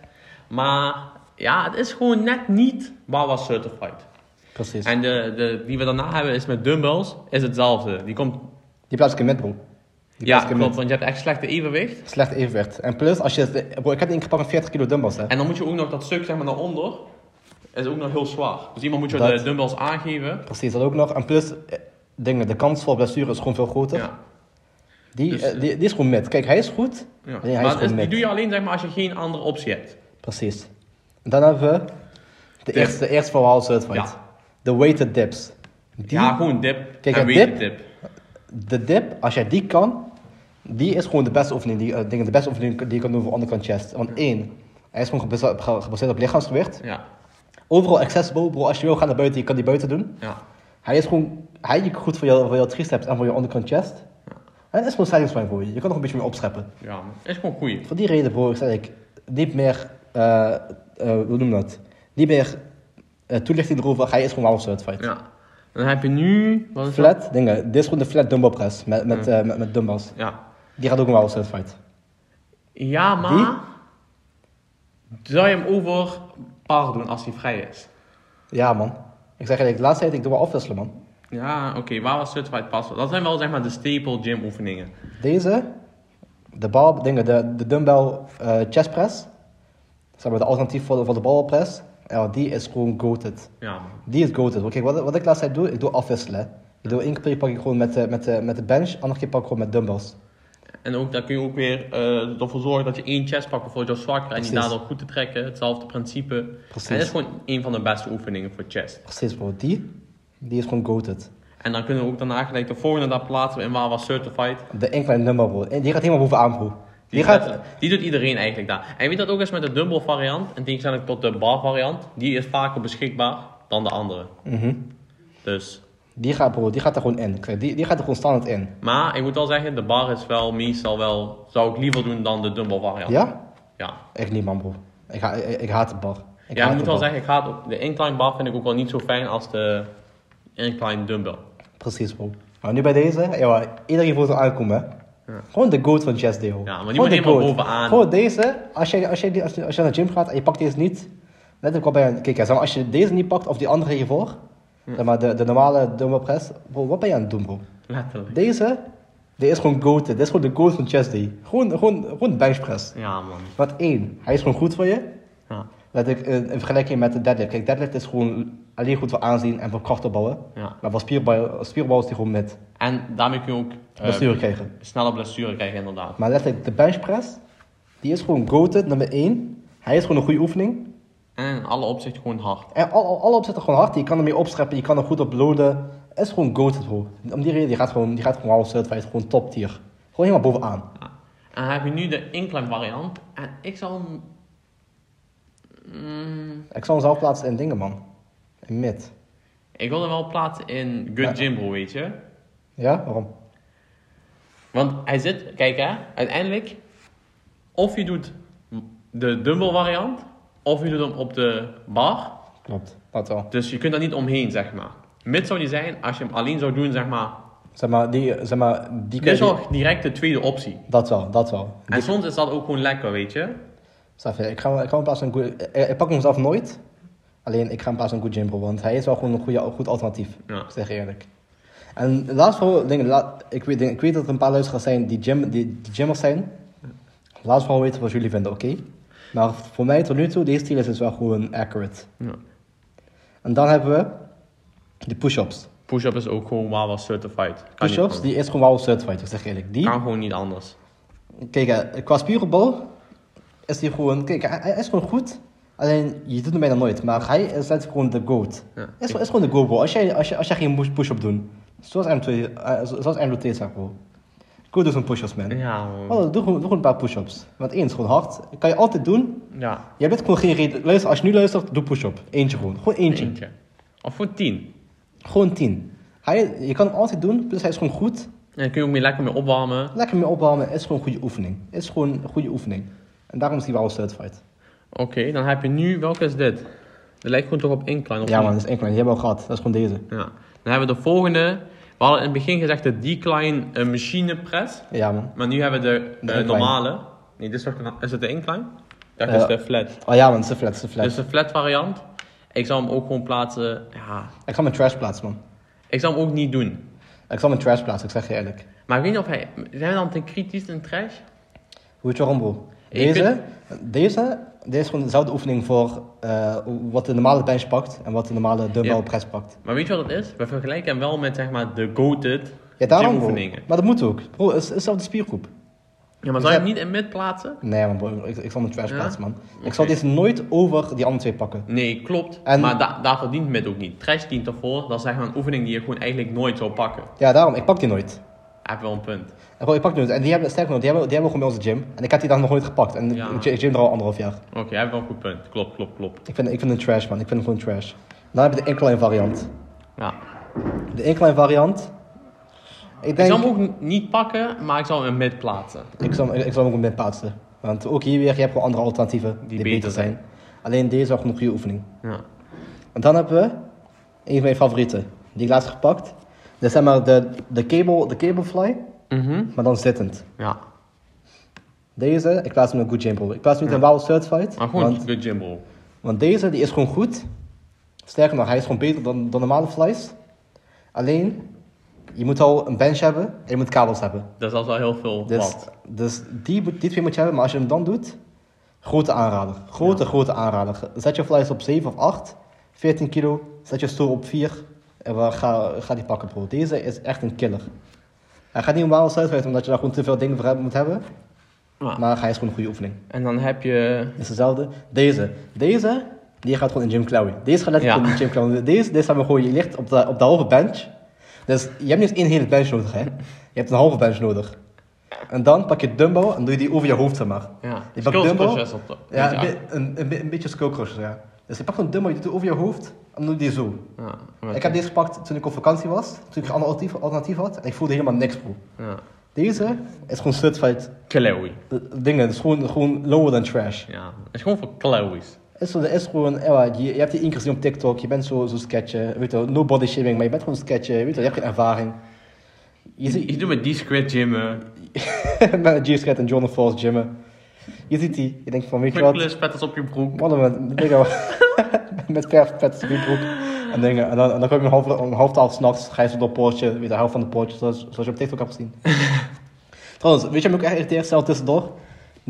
Speaker 2: Maar ja, het is gewoon net niet Wawa certified.
Speaker 1: Precies.
Speaker 2: En de, de, die we daarna hebben is met dumbbells, is hetzelfde. Die komt,
Speaker 1: Die plaats ik in midbroek. Die
Speaker 2: ja
Speaker 1: plaats ik in
Speaker 2: klopt,
Speaker 1: mid.
Speaker 2: want je hebt echt slechte evenwicht.
Speaker 1: Slecht evenwicht. En plus, als je... Bro, ik heb één keer pak een 40 kilo dumbbells, hè.
Speaker 2: En dan moet je ook nog dat stuk zeg maar naar onder, is ook nog heel zwaar. Dus iemand moet je
Speaker 1: Dat-
Speaker 2: de dumbbells aangeven.
Speaker 1: Precies, dat ook nog. En plus, eh, dingen, de kans voor blessure is gewoon veel groter.
Speaker 2: Ja.
Speaker 1: Die,
Speaker 2: Dus,
Speaker 1: eh, die, die is gewoon mid. Kijk, hij is goed.
Speaker 2: Ja.
Speaker 1: Alleen hij is
Speaker 2: maar
Speaker 1: gewoon
Speaker 2: het is- die
Speaker 1: mid.
Speaker 2: doe je alleen zeg maar, als je geen andere optie hebt.
Speaker 1: Precies. En dan hebben we de
Speaker 2: Dip.
Speaker 1: eerste, de eerste verhaal certified.
Speaker 2: Ja.
Speaker 1: De weighted dips. Die,
Speaker 2: Ja, gewoon dip
Speaker 1: Kijk,
Speaker 2: en
Speaker 1: een
Speaker 2: weighted
Speaker 1: dip-
Speaker 2: dip.
Speaker 1: De dip, als jij die kan, die is gewoon de beste oefening die, eh, dingen, de beste oefening die je kan doen voor onderkant chest. Want één, hij is gewoon gebaseerd op, gebaseerd op lichaamsgewicht.
Speaker 2: Ja,
Speaker 1: Overal accessible, bro. Als je wil, ga naar buiten. Je kan die buiten doen.
Speaker 2: ja.
Speaker 1: Hij is gewoon hij is goed voor jou, voor jouw triceps en voor je onderkant chest. En het is gewoon satisfying voor je. Je kan nog een beetje meer opscheppen.
Speaker 2: Ja, man. is gewoon goeie.
Speaker 1: Voor die reden, bro, ik zeg ik, niet meer, eh, eh, hoe noem je dat? Niet meer eh, toelichting erover. Hij is gewoon wel certified.
Speaker 2: Ja. Dan heb je nu... Wat is dat?
Speaker 1: Flat, dingen. Dit is gewoon de flat dumbbell press met, met, eh, met, met dumbbells.
Speaker 2: Ja.
Speaker 1: Die gaat ook wel certified.
Speaker 2: Ja, maar... Zou je hem over par doen als hij vrij is?
Speaker 1: Ja, man. Ik zeg eigenlijk, de laatste tijd, ik doe wel afwisselen, man.
Speaker 2: Ja, oké. Waar was certified passen? Dat zijn wel zeg maar de staple gym oefeningen.
Speaker 1: Deze, de bal, dingen, de, de dumbbell eh, chest press. Zeg maar, de alternatief voor de, voor de barbell press. Ja, die is gewoon goated.
Speaker 2: Ja, man.
Speaker 1: Die is goated. Want Kijk, wat, wat ik laatst tijd doe, ik doe afwisselen. Ik doe één keer pak ik gewoon met de, met de, met de bench, andere keer pak ik gewoon met dumbbells.
Speaker 2: En ook, daar kun je ook weer eh ervoor zorgen dat je één chest pakt bijvoorbeeld jouw zwakker en die
Speaker 1: Precies.
Speaker 2: daardoor goed te trekken. Hetzelfde principe.
Speaker 1: Precies.
Speaker 2: En dat is gewoon een van de beste oefeningen voor chest.
Speaker 1: Precies bro, die, die is gewoon goated.
Speaker 2: En dan kunnen we ook daarna gelijk de volgende daar plaatsen in waar was certified.
Speaker 1: De incline number bro, en die gaat helemaal bovenaan bro. Die
Speaker 2: zet-
Speaker 1: gaat,
Speaker 2: die doet iedereen eigenlijk daar. En weet dat ook eens met de dumbbell variant, in tegenstelling tot de bar variant, die is vaker beschikbaar dan de andere.
Speaker 1: mhm.
Speaker 2: Dus,
Speaker 1: die gaat bro, die gaat er gewoon in. Ik zeg, Die, die gaat er gewoon standaard in.
Speaker 2: maar ik moet wel zeggen, de bar is wel meestal wel, zou ik liever doen dan de dumbbell variant.
Speaker 1: Ja?
Speaker 2: Ja,
Speaker 1: Echt niet man bro. Ik, ha, ik, ik haat de bar. Ik
Speaker 2: ja
Speaker 1: haat
Speaker 2: ik moet
Speaker 1: de
Speaker 2: wel
Speaker 1: bar.
Speaker 2: zeggen, ik haat ook, de incline bar vind ik ook wel niet zo fijn als de incline dumbbell.
Speaker 1: Precies bro. Nou, nu bij deze, ja, iedereen voelt er aankomen hè. Gewoon de goat van Chess Day hoor.
Speaker 2: Ja, maar die
Speaker 1: Gewoon
Speaker 2: moet
Speaker 1: de
Speaker 2: helemaal
Speaker 1: goat.
Speaker 2: bovenaan.
Speaker 1: Gewoon deze, als jij, als, jij die, als, je, als je naar de gym gaat en je pakt deze niet, net ook al bij een kijk, hè, zeg maar, als je deze niet pakt of die andere hiervoor, zeg maar de, de normale dumbbell press, bro, wat ben je aan het doen bro?
Speaker 2: Letterlijk.
Speaker 1: Deze, die is gewoon goated. Dit is gewoon de goat van Chess Day. Gewoon, gewoon, gewoon bench press.
Speaker 2: Ja man.
Speaker 1: Wat één, hij is gewoon goed voor je.
Speaker 2: Ja.
Speaker 1: Dat ik, eh, in vergelijking met de deadlift. Kijk, deadlift is gewoon alleen goed voor aanzien en voor kracht opbouwen.
Speaker 2: Ja. Eh,
Speaker 1: Maar voor spierbouw, spierbouw is die gewoon met
Speaker 2: En daarmee kun je ook eh,
Speaker 1: blessure krijgen.
Speaker 2: snelle blessure krijgen inderdaad.
Speaker 1: Maar letterlijk, de benchpress, die is gewoon goated, nummer 1. Hij is gewoon een goede oefening.
Speaker 2: En in alle opzichten gewoon hard.
Speaker 1: En al, al, alle opzetten gewoon hard. Je kan ermee opscheppen, je kan er goed op loaden. Het is gewoon goated, bro. Om die reden, die gaat gewoon, die gaat gewoon half certified, gewoon top tier. Gewoon helemaal bovenaan.
Speaker 2: Ja. En dan heb je nu de incline variant. En ik zal hem... Mm,
Speaker 1: Ik zal hem zelf plaatsen in dingen, man. In mid.
Speaker 2: ik wil hem wel plaatsen in
Speaker 1: Ja.
Speaker 2: Good Gym Bro, weet je.
Speaker 1: Ja, waarom?
Speaker 2: Want hij zit... Kijk hè, uiteindelijk... Of je doet de dumbbell variant, of je doet hem op de bar.
Speaker 1: Klopt, dat wel.
Speaker 2: Dus je kunt daar niet omheen, zeg maar. Mits zou die zijn, als je hem alleen zou doen, zeg maar...
Speaker 1: Zeg maar, die, zeg maar, die
Speaker 2: Dit is
Speaker 1: kun je-
Speaker 2: al direct de tweede optie.
Speaker 1: Dat wel, dat wel.
Speaker 2: En soms is dat ook gewoon lekker, weet je.
Speaker 1: Snap je? Ik ga, ik ga hem plaatsen in goe- eh, Ik pak hem zelf nooit. Alleen ik ga hem plaatsen in Good Jimbo, want hij is wel gewoon een goede, goed alternatief.
Speaker 2: Ja.
Speaker 1: Ik zeg je eerlijk. En laatst vooral, dingen, la- ik, weet, dingen- ik weet dat er een paar luisteraars zijn die, gym, die, die gymmers zijn. Laat vooral weten wat jullie vinden, oké? Maar voor mij tot nu toe, deze stijl is dus wel gewoon accurate.
Speaker 2: Ja.
Speaker 1: En dan hebben we de push-ups.
Speaker 2: Push-up is ook gewoon maar was certified. Kan niet
Speaker 1: Push-ups,
Speaker 2: anders.
Speaker 1: die is gewoon wel certified, ik zeg je eerlijk. Die,
Speaker 2: Kan gewoon niet anders. Ah.
Speaker 1: kijk, eh, qua spierenbal is die gewoon, kijk, hij, hij is gewoon goed. Alleen, je doet hem bijna nooit, maar hij is net gewoon de goat.
Speaker 2: Ja.
Speaker 1: Is, is gewoon de go, bro. Als jij, als jij, als jij geen push- push-up doet, zoals M2, eh, zo- zoals M2 zegt, bro. Go dus een push-ups, man.
Speaker 2: Ja, man.
Speaker 1: Oh, doe, gewoon, doe gewoon een paar push-ups. Want één is gewoon hard. kan je altijd doen.
Speaker 2: Ja,
Speaker 1: Jij bent gewoon geen reden. Luister, als je nu luistert, doe push-up. Eentje gewoon. Gewoon eentje.
Speaker 2: eentje. Of voor tien.
Speaker 1: Gewoon tien. Hij, je kan hem altijd doen, plus hij is gewoon goed.
Speaker 2: En dan kun je ook meer lekker mee opwarmen.
Speaker 1: Lekker mee opwarmen, is gewoon een goede oefening. Is gewoon een goede oefening. En daarom is hij wel certified.
Speaker 2: Oké, dan heb je nu, welke is dit? Dat lijkt gewoon toch op incline of
Speaker 1: Ja
Speaker 2: niet?
Speaker 1: man, dat is enkel. Die hebben we al gehad. Dat is gewoon deze.
Speaker 2: Ja. Dan hebben we de volgende. We hadden in het begin gezegd de decline eh, machine press.
Speaker 1: Ja man.
Speaker 2: Maar nu hebben we de, eh,
Speaker 1: incline.
Speaker 2: normale. Nee, dit is, toch, de- is het de incline? Dat is
Speaker 1: Ja.
Speaker 2: de flat.
Speaker 1: Oh ja, man, het is een flat, het is een flat.
Speaker 2: Dus de flat variant. Ik zou hem ook gewoon plaatsen. Ja,
Speaker 1: Ik zal mijn trash plaatsen, man.
Speaker 2: ik zou hem ook niet doen.
Speaker 1: Ik zal mijn trash plaatsen, ik zeg je eerlijk.
Speaker 2: Maar ik weet niet of hij. Zijn we dan te kritisch en trash?
Speaker 1: Hoe het waarom, bro?
Speaker 2: Ik
Speaker 1: Deze, deze, deze is gewoon dezelfde oefening voor eh, wat de normale bench pakt en wat de normale dumbbell
Speaker 2: Ja.
Speaker 1: press pakt.
Speaker 2: Maar weet je wat het is? We vergelijken hem wel met zeg maar de goated
Speaker 1: Ja, dus daarom, bro.
Speaker 2: oefeningen.
Speaker 1: Maar dat moet ook. Bro, het is het is dezelfde spiergroep.
Speaker 2: Ja, maar zou je hem niet in mid plaatsen?
Speaker 1: Nee, man, bro, ik, ik zal mijn trash
Speaker 2: Ja?
Speaker 1: plaatsen, man. Ik
Speaker 2: Oké.
Speaker 1: zal deze nooit over die andere twee pakken.
Speaker 2: Nee, klopt.
Speaker 1: En-
Speaker 2: Maar da- daarvoor dient mid ook niet. Trash dient ervoor. Dat is zeg maar een oefening die je gewoon eigenlijk nooit zou pakken.
Speaker 1: Ja, daarom, ik pak die nooit.
Speaker 2: Hij heeft wel een punt.
Speaker 1: En Bro, ik pak die nooit. En die hebben, sterker nog, die hebben, die hebben we gewoon bij onze gym. En ik had die dan nog nooit gepakt. En
Speaker 2: Ja.
Speaker 1: ik ik gym er al anderhalf jaar.
Speaker 2: Oké, hij heeft wel een goed punt. Klopt, klopt, klopt.
Speaker 1: Ik vind, ik vind hem trash, man. Ik vind hem gewoon trash. Dan heb je de incline variant.
Speaker 2: Ja.
Speaker 1: De incline variant. Ik
Speaker 2: Ik
Speaker 1: denk...
Speaker 2: zou hem ook n- niet pakken, maar ik zou hem in mid plaatsen.
Speaker 1: Ik zal, ik, ik zal hem ook met plaatsen. Want ook hier weer, je hebt gewoon andere alternatieven die, beter,
Speaker 2: beter
Speaker 1: zijn. Alleen deze was nog een goede oefening.
Speaker 2: Ja.
Speaker 1: En dan hebben we een van mijn favorieten. Die ik laatst gepakt. Dat is zeg maar de, de, cable, de cablefly, maar dan zittend.
Speaker 2: Ja.
Speaker 1: Deze, ik plaats hem in Good Gym Pro. Ik plaats hem niet in Wow Certified.
Speaker 2: Maar gewoon
Speaker 1: want,
Speaker 2: de Jimbo.
Speaker 1: want deze die is gewoon goed. Sterker nog, hij is gewoon beter dan, dan normale flies. Alleen, je moet al een bench hebben en je moet kabels hebben.
Speaker 2: Dat is al wel heel veel
Speaker 1: Dus,
Speaker 2: wat.
Speaker 1: dus die, moet- die twee moet je hebben, maar als je hem dan doet, grote aanrader. Grote, grote aanrader. Zet je flyers op 7 of 8, 14 kilo. Zet je stoel op 4 en we- ga, ga die pakken, bro. Deze is echt een killer. Hij gaat niet om waarheid uitwijzen, omdat je daar gewoon te veel dingen voor hebt- moet hebben.
Speaker 2: Ja.
Speaker 1: Maar hij is gewoon een goede oefening.
Speaker 2: En dan heb je...
Speaker 1: Het is dezelfde. Deze. Deze, die gaat gewoon in gym klauwen. Deze gaat letterlijk
Speaker 2: Ja.
Speaker 1: in gym klauwen. Deze, deze hebben we gewoon, je ligt op de, op de halve bench. Dus je hebt niet eens één hele bench nodig, hè. Je hebt een halve bench nodig. En dan pak je dumbbell en doe je die over je hoofd, zeg maar.
Speaker 2: Ja.
Speaker 1: Je pakt
Speaker 2: Skull
Speaker 1: dumbbell.
Speaker 2: crushes op de...
Speaker 1: Ja,
Speaker 2: ja.
Speaker 1: een, bi- een, een, bi- een beetje skull crushes, ja. Dus je pakt een dumbbell, je doet die over je hoofd en doe je die zo.
Speaker 2: Ja, maar-
Speaker 1: Ik heb deze gepakt toen ik op vakantie was, toen ik een alternatief, alternatief had. En ik voelde helemaal niks, bro.
Speaker 2: Ja.
Speaker 1: Deze is gewoon certified
Speaker 2: Chloe.
Speaker 1: eh, dingen. Het is gewoon, gewoon lower than trash.
Speaker 2: Ja. Het is gewoon voor Chloe's.
Speaker 1: Is, zo- is gewoon, ja, je, je hebt die één keer gezien op TikTok, je bent zo, zo sketchen, weet je, wel, no body shaming, maar je bent gewoon sketchen, weet je, wel, je hebt geen ervaring. Je ziet
Speaker 2: Je doet met die squid gymmen.
Speaker 1: met G-Scat en John of Falls gymmen. Je ziet die, je denkt van, weet je
Speaker 2: Met
Speaker 1: wat,
Speaker 2: kluspetters op je broek.
Speaker 1: wat een dingen, met verf, vet, spierbroek en dingen. En dan, en dan kom je om half, om half twaalf s'nachts, ga je zo door het poortje, weet je, de helft van de poortje, zoals, zoals je op TikTok hebt gezien. Trouwens, weet je wat me ook echt irriteert, zelf tussendoor?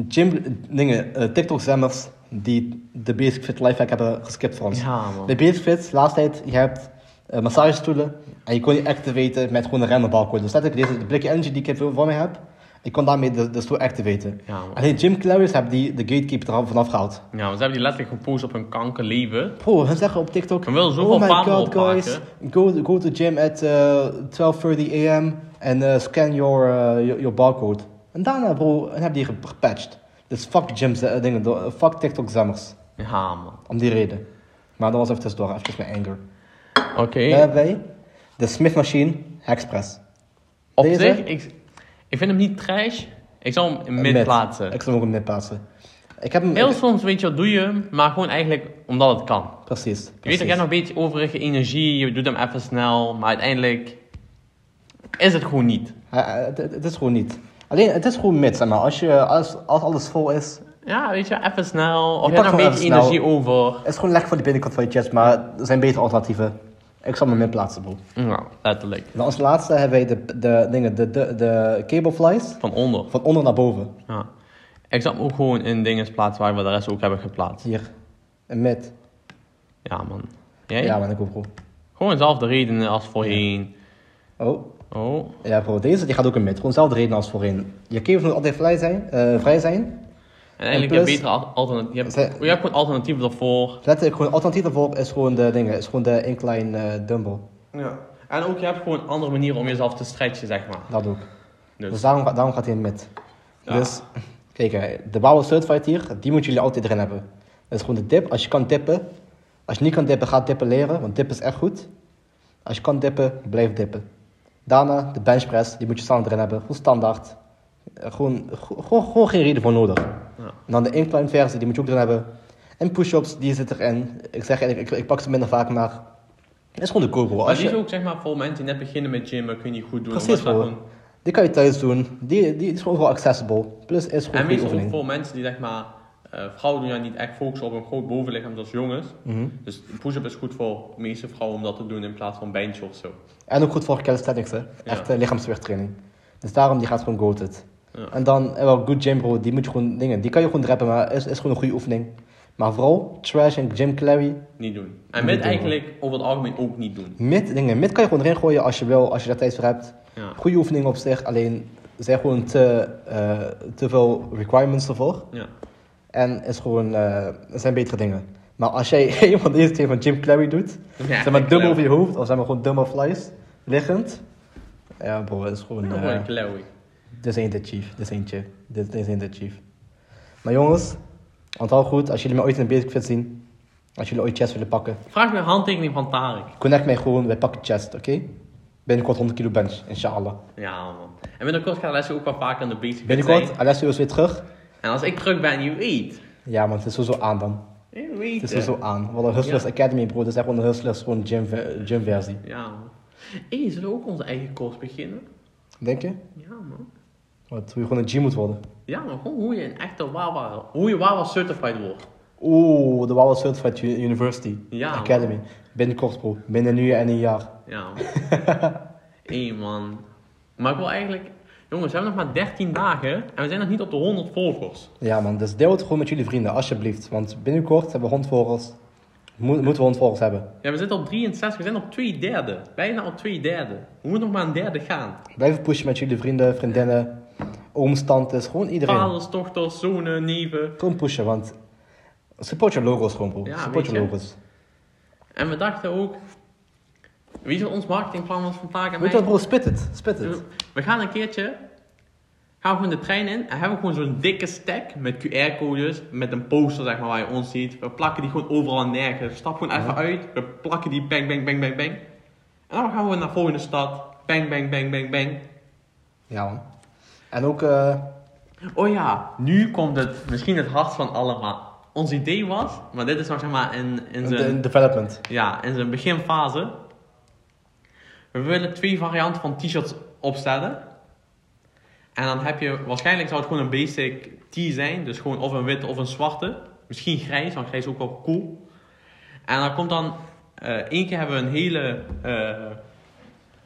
Speaker 1: Gym, dingen, eh, TikTok-zemmers die de Basic Fit Lifehack hebben geskipt voor ons.
Speaker 2: Ja, man.
Speaker 1: Bij Basic Fit, laatst tijd, je hebt eh, massagestoelen en je kon die activaten met gewoon een random barcode. Dus letterlijk deze de blikje energy die ik voor voor me heb, ik kon daarmee de, de stoel activaten.
Speaker 2: Ja, man.
Speaker 1: Alleen Jim Clarius hebben die de gatekeeper er al vanaf gehaald.
Speaker 2: Ja, want ze hebben die letterlijk gepost op hun kankerleven.
Speaker 1: Bro, hun zeggen op TikTok,
Speaker 2: We willen zoveel
Speaker 1: oh my
Speaker 2: vaandel
Speaker 1: god
Speaker 2: opmaken."
Speaker 1: guys, go, go to gym at eh, 12.30 am en eh, scan your, eh, your, your barcode. En daarna bro, en hebben die ge- gepatcht. Dus fuck gym, eh, dingen, do- fuck TikTok zammers.
Speaker 2: Ja, man.
Speaker 1: Om die reden. Maar dat was even tussendoor, even mijn anger.
Speaker 2: Oké.
Speaker 1: Daar hebben wij de Smith Machine Hexpress.
Speaker 2: Op
Speaker 1: Deze?
Speaker 2: zich, ik, ik vind hem niet trash. Ik zou hem in mid plaatsen.
Speaker 1: Ik zal hem ook in mid plaatsen. Ik heb hem...
Speaker 2: Heel
Speaker 1: ik-
Speaker 2: soms weet je wat doe je hem, maar gewoon eigenlijk omdat het kan. Je
Speaker 1: precies.
Speaker 2: weet,
Speaker 1: precies.
Speaker 2: je hebt nog een beetje overige energie, je doet hem even snel, maar uiteindelijk is het gewoon niet.
Speaker 1: Hij- hij- het, het- het is gewoon niet. Alleen, het is gewoon mid, zeg maar. Als, je, als, als alles vol is,
Speaker 2: Ja, weet je, even snel. Of
Speaker 1: Je
Speaker 2: je hebt
Speaker 1: pakt
Speaker 2: nog een
Speaker 1: wel
Speaker 2: beetje
Speaker 1: even snel.
Speaker 2: energie over.
Speaker 1: Het is gewoon lekker voor de binnenkant van je chest, maar er zijn betere alternatieven. Ik zal hem in plaatsen, bro.
Speaker 2: Ja, letterlijk.
Speaker 1: En als laatste hebben wij de, de, dingen, de, de, de cableflies
Speaker 2: Van onder.
Speaker 1: van onder naar boven.
Speaker 2: Ja. Ik zou hem ook gewoon in dingen plaatsen waar we de rest ook hebben geplaatst.
Speaker 1: Hier. En mid.
Speaker 2: Ja, man. Jij?
Speaker 1: Ja, man, ik ook, bro.
Speaker 2: Gewoon dezelfde redenen als voorheen.
Speaker 1: Oh.
Speaker 2: Oh,
Speaker 1: Ja, bro. Deze die gaat ook in mid. Gewoon dezelfde reden als voorheen. Je cables moet altijd vrij zijn. eh, vrij zijn.
Speaker 2: en eigenlijk
Speaker 1: plus-
Speaker 2: heb je betere al- alternatieven. Je hebt,
Speaker 1: Ze-
Speaker 2: je hebt gewoon alternatieven ervoor.
Speaker 1: Letterlijk, gewoon alternatief daarvoor is gewoon de dingen. Is gewoon de incline eh dumbbell.
Speaker 2: Ja. En ook je hebt gewoon een andere manieren om jezelf te stretchen, zeg maar.
Speaker 1: Dat ook.
Speaker 2: Dus-
Speaker 1: Dus, daarom, ga- daarom gaat hij in mid.
Speaker 2: Ja.
Speaker 1: Dus, kijk, hè, de Bauer Certified hier, die moeten jullie altijd erin hebben. Dat is gewoon de dip. Als je kan dippen, als je niet kan dippen, ga dippen leren, want dippen is echt goed. Als je kan dippen, blijf dippen. Daarna de bench press, die moet je standaard erin hebben. Gewoon standaard. Eh, Gewoon, go- gewoon, gewoon geen reden voor nodig. En dan de incline versie, die moet je ook erin hebben. En push-ups, die zit erin. Ik zeg eigenlijk, ik, ik pak ze minder vaak, maar het is gewoon de cool, bro.
Speaker 2: Maar
Speaker 1: Als
Speaker 2: die
Speaker 1: je-
Speaker 2: is ook zeg maar voor mensen die net beginnen met gymmen, kun je die goed doen.
Speaker 1: Precies,
Speaker 2: omdat dat
Speaker 1: bro.
Speaker 2: gewoon-
Speaker 1: Die kan je thuis doen. Die, die is gewoon wel accessible. Plus is gewoon
Speaker 2: En
Speaker 1: een goede
Speaker 2: meestal ook
Speaker 1: oefening.
Speaker 2: voor mensen die zeg maar Eh, vrouwen doen ja niet echt focussen op een groot bovenlichaam zoals jongens.
Speaker 1: Mhm.
Speaker 2: Dus een push-up is goed voor de meeste vrouwen om dat te doen in plaats van bench of zo.
Speaker 1: En ook goed voor calisthenics, hè. Echt eh, lichaamsweertraining. Dus daarom, die gaat gewoon goated.
Speaker 2: Ja.
Speaker 1: En dan, eh, wel, good gym bro, die moet je gewoon dingen. Die kan je gewoon drappen, maar is, is gewoon een goede oefening. Maar vooral, trash en gym clary,
Speaker 2: Niet doen. En
Speaker 1: Niet
Speaker 2: mid
Speaker 1: doen.
Speaker 2: eigenlijk over het algemeen ook niet doen.
Speaker 1: mid dingen. Mid kan je gewoon erin gooien als je wil, als je daar tijd voor hebt.
Speaker 2: Ja.
Speaker 1: Goede oefening op zich, alleen zijn gewoon te, eh, te veel requirements ervoor.
Speaker 2: Ja.
Speaker 1: En is gewoon, eh, er zijn betere dingen. Maar als jij een van deze twee van Jim Clary doet,
Speaker 2: Ja,
Speaker 1: zeg maar
Speaker 2: ik
Speaker 1: dum
Speaker 2: geloof-
Speaker 1: over je hoofd, of zeg maar gewoon dum of flies, liggend. Ja bro, dat is gewoon...
Speaker 2: Ja,
Speaker 1: eh,
Speaker 2: gewoon een klauwie.
Speaker 1: Dit is eentje, chief. Dit is eentje. Dit is eentje, chief. Maar jongens, onthoud goed, als jullie me ooit in de basic fit zien, als jullie ooit chest willen pakken,
Speaker 2: Vraag naar handtekening van Tarek.
Speaker 1: connect mij gewoon, wij pakken chest, oké? Binnenkort 100 kilo bench, inshallah.
Speaker 2: Ja man. En binnenkort gaat Alessio ook wel vaker aan de basic fit
Speaker 1: Binnenkort,
Speaker 2: zijn.
Speaker 1: Alessio is weer terug.
Speaker 2: En als ik terug ben, je weet.
Speaker 1: Ja man, het is sowieso aan dan.
Speaker 2: Je weet
Speaker 1: Het is dus
Speaker 2: het.
Speaker 1: sowieso aan. Wat een Hustlers
Speaker 2: Ja.
Speaker 1: Academy bro, dat is echt gewoon een Hustlers, gewoon gym, gym versie.
Speaker 2: Ja man. Hé, zullen we ook onze eigen course beginnen?
Speaker 1: Denk je?
Speaker 2: Ja man.
Speaker 1: Wat, hoe je gewoon een gym moet worden.
Speaker 2: Ja man, gewoon hoe je een echte Wawa, hoe je Wawa certified wordt.
Speaker 1: Oeh, de Wawa Certified U- University
Speaker 2: Ja, man.
Speaker 1: Academy. Binnenkort bro, binnen een uur en een jaar.
Speaker 2: Ja. Hé man. Maar ik wil eigenlijk... Jongens, we hebben nog maar 13 dagen en we zijn nog niet op de 100 volgers.
Speaker 1: Ja man, dus deel het gewoon met jullie vrienden, alsjeblieft. Want binnenkort hebben we hondvolgers. Mo- moeten we hondvolgers hebben.
Speaker 2: Ja, we zitten op 63, we zijn op 2 derde. Bijna op 2 derde. We moeten nog maar een derde gaan.
Speaker 1: Blijf pushen met jullie vrienden, vriendinnen, ooms, tantes, gewoon iedereen.
Speaker 2: Vaders, dochters, zonen, neven.
Speaker 1: Gewoon pushen, want support je logos gewoon bro.
Speaker 2: Ja,
Speaker 1: support je
Speaker 2: weet je.
Speaker 1: logos.
Speaker 2: En we dachten ook... Wie is ons marketingplan was vandaag en
Speaker 1: Weet je wat bro, spit het, spit het.
Speaker 2: We gaan een keertje... Gaan we gewoon de trein in en hebben we gewoon zo'n dikke stack met QR-codes, met een poster zeg maar waar je ons ziet. We plakken die gewoon overal en nergens. Stap gewoon even uit, we plakken die bang, bang, bang, bang, bang. En dan gaan we naar de volgende stad. Bang, bang, bang, bang, bang.
Speaker 1: Ja man. En ook, eh,
Speaker 2: Oh ja, nu komt het misschien het hart van allemaal. Ons idee was, maar dit is nog zeg maar in, in,
Speaker 1: de- in
Speaker 2: zijn,
Speaker 1: development.
Speaker 2: ja, in zijn beginfase. We willen twee varianten van t-shirts opstellen. En dan heb je, waarschijnlijk zou het gewoon een basic t zijn. Dus gewoon of een witte of een zwarte. Misschien grijs, want grijs is ook wel cool. En dan komt dan, eh één keer hebben we een hele eh,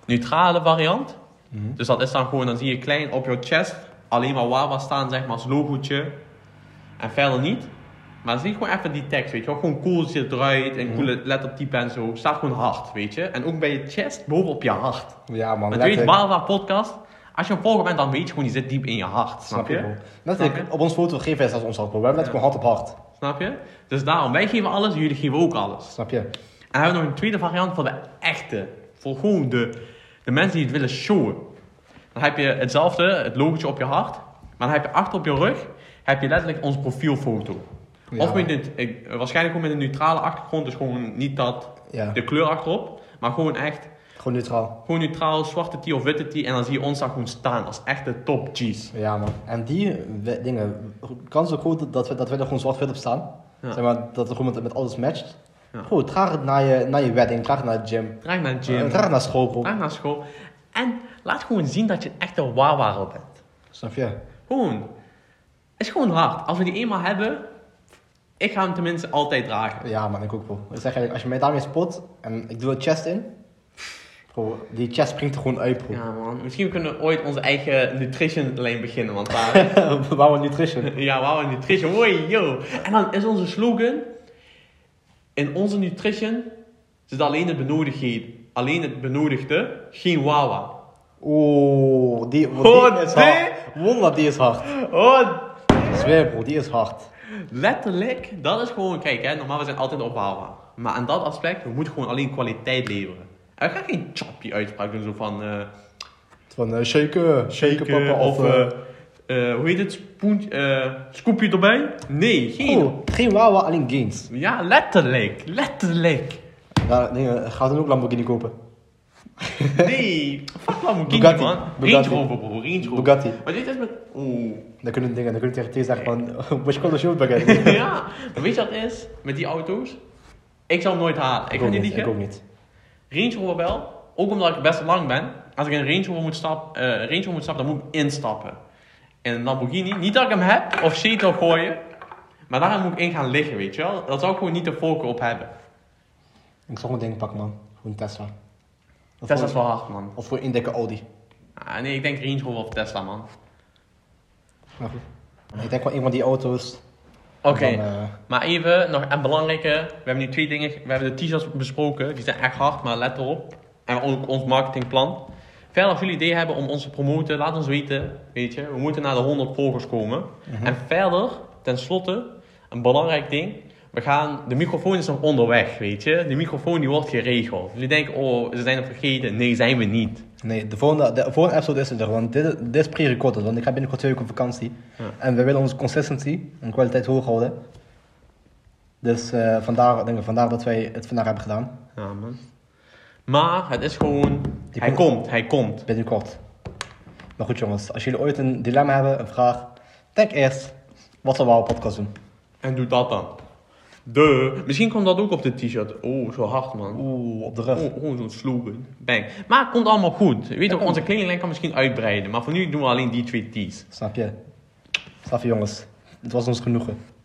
Speaker 2: neutrale variant. Dus dat is dan gewoon, dan zie je klein op je chest alleen maar Wawa staan, zeg maar, als logootje. En verder niet. Maar zie gewoon even die tekst, weet je wel. Gewoon cool ziet het eruit
Speaker 1: Mhm.
Speaker 2: en coole lettertype en zo. Staat gewoon hard, weet je. En ook bij je chest, bovenop je hart.
Speaker 1: Ja man,
Speaker 2: Want je weet, Wawa podcast, als je een volger bent, dan weet je gewoon, die zit diep in je hart. Snap, je?
Speaker 1: bro. Letterlijk,
Speaker 2: Snap je?
Speaker 1: op ons foto geven wij zelfs ons hart bro. We hebben net
Speaker 2: Ja.
Speaker 1: gewoon hard op hart.
Speaker 2: Snap je? Dus daarom, wij geven alles, jullie geven ook alles.
Speaker 1: Snap je?
Speaker 2: En dan hebben we nog een tweede variant voor de echte. Voor gewoon de, de mensen die het willen showen. Dan heb je hetzelfde, het logotje op je hart. Maar dan heb je achter op je rug, heb je letterlijk ons profielfoto.
Speaker 1: Ja.
Speaker 2: Of met een, eh, waarschijnlijk gewoon met een neutrale achtergrond. Dus gewoon niet dat,
Speaker 1: Ja,
Speaker 2: de kleur achterop. Maar gewoon echt,
Speaker 1: gewoon neutraal.
Speaker 2: gewoon neutraal, zwarte tee of witte tee. En dan zie je ons daar gewoon staan als echte top G's.
Speaker 1: Ja man. En die we- dingen, kans ook goed dat we, dat we er gewoon zwart-wit op staan.
Speaker 2: Ja.
Speaker 1: Zeg maar, dat het gewoon met, met alles matcht.
Speaker 2: Ja.
Speaker 1: Goed, draag het naar je, naar je wedding, draag het naar de gym.
Speaker 2: Draag naar de
Speaker 1: Eh,
Speaker 2: gym, Ah.
Speaker 1: draag het naar school, bro.
Speaker 2: draag naar school. En laat gewoon zien dat je een echte wawa bent.
Speaker 1: Snap je?
Speaker 2: Gewoon. Het is gewoon hard. Als we die eenmaal hebben, ik ga hem tenminste altijd dragen.
Speaker 1: Ja man, ik ook bro. Ik zeg eigenlijk, als je mij daarmee spot en ik doe het chest in. Bro, die chest springt er gewoon uit bro.
Speaker 2: Ja man, misschien kunnen we ooit onze eigen nutrition lijn beginnen, want daar...
Speaker 1: Wauw, nutrition.
Speaker 2: ja, wauw, nutrition, hoi, yo. En dan is onze slogan, in onze nutrition zit alleen het benodigdheid, alleen het benodigde, geen wawa.
Speaker 1: Oeh, die,
Speaker 2: Oh,
Speaker 1: die is
Speaker 2: die?
Speaker 1: hard. Wallah, die is hard.
Speaker 2: Oh,
Speaker 1: Zweer bro, die is hard.
Speaker 2: letterlijk, dat is gewoon, kijk hè, normaal we zijn altijd op wawa. Maar aan dat aspect, we moeten gewoon alleen kwaliteit leveren. En we gaan geen choppy uitspraak doen, zo van... eh,
Speaker 1: Van eh shaken, shaken
Speaker 2: Shaken
Speaker 1: papa
Speaker 2: of,
Speaker 1: of...
Speaker 2: eh,
Speaker 1: eh,
Speaker 2: eh, hoe heet het, spoentje, eh, scoopje erbij? Nee, geen.
Speaker 1: Oeh, geen wawa, alleen gains.
Speaker 2: Ja, letterlijk, letterlijk.
Speaker 1: Ja, nee, eh, ga dan ook Lamborghini kopen.
Speaker 2: Nee, fuck Lamborghini
Speaker 1: Bugatti,
Speaker 2: man.
Speaker 1: Bugatti.
Speaker 2: Range Rover bro, Range Rover.
Speaker 1: Bugatti.
Speaker 2: Maar dit is met, oeh.
Speaker 1: Dan kunnen dingen, dan kunnen tegen T zeggen van, which color should we get?
Speaker 2: ja, maar weet je wat het is met die auto's? Ik zal hem nooit halen, ik ga
Speaker 1: ook
Speaker 2: niet
Speaker 1: niet, ik ook
Speaker 2: liegen.
Speaker 1: niet.
Speaker 2: Range Rover wel, ook omdat ik best lang ben. Als ik in een Range Rover moet, stap, eh, Range Rover moet stappen, dan moet ik instappen. In een Lamborghini, niet dat ik hem heb of shit wil gooien. Maar daar moet ik in gaan liggen, weet je wel. Daar zou ik gewoon niet de focus op hebben.
Speaker 1: Ik zal gewoon een ding pakken, man. Gewoon Tesla. Of
Speaker 2: Tesla is
Speaker 1: gewoon-
Speaker 2: wel hard, man.
Speaker 1: Of gewoon één dikke Audi.
Speaker 2: Ah, nee, ik denk Range Rover of Tesla, man.
Speaker 1: Maar goed. Ik denk wel een van die auto's.
Speaker 2: Oké.
Speaker 1: Dan, eh,
Speaker 2: Maar even, nog een belangrijke. We hebben nu twee dingen. We hebben de t-shirts besproken. Die zijn echt hard, maar let erop. En ook ons marketingplan. Verder, als jullie ideeën hebben om ons te promoten, laat ons weten. Weet je, we moeten naar de 100 volgers komen. En verder, tenslotte, een belangrijk ding. We gaan, de microfoon is nog onderweg, weet je. De microfoon die wordt geregeld. Jullie denken, oh, ze zijn het vergeten. Nee, zijn we niet.
Speaker 1: nee, de volgende, de volgende episode is er. Want dit, dit is pre-recorded. Want ik ga binnenkort twee weken op vakantie.
Speaker 2: Ja.
Speaker 1: En we willen onze consistency en kwaliteit hoog houden. Dus eh, vandaar, denk ik, vandaar dat wij het vandaag hebben gedaan.
Speaker 2: Ja, man. Maar het is gewoon,
Speaker 1: Die
Speaker 2: hij
Speaker 1: komt-
Speaker 2: komt, hij komt.
Speaker 1: Binnenkort. Maar goed jongens, als jullie ooit een dilemma hebben, een vraag. Denk eerst, wat zullen we op podcast doen?
Speaker 2: En doe dat dan. De. Misschien komt dat ook op de t-shirt. Oh, zo hard man.
Speaker 1: Oeh, op de rug.
Speaker 2: Oh, oh, zo'n slogan. Bang. Maar het komt allemaal goed. Je weet ook,
Speaker 1: komt.
Speaker 2: onze kledinglijn kan misschien uitbreiden. Maar voor nu doen we alleen die twee t's.
Speaker 1: Snap je? Snap je jongens? Het was ons genoegen.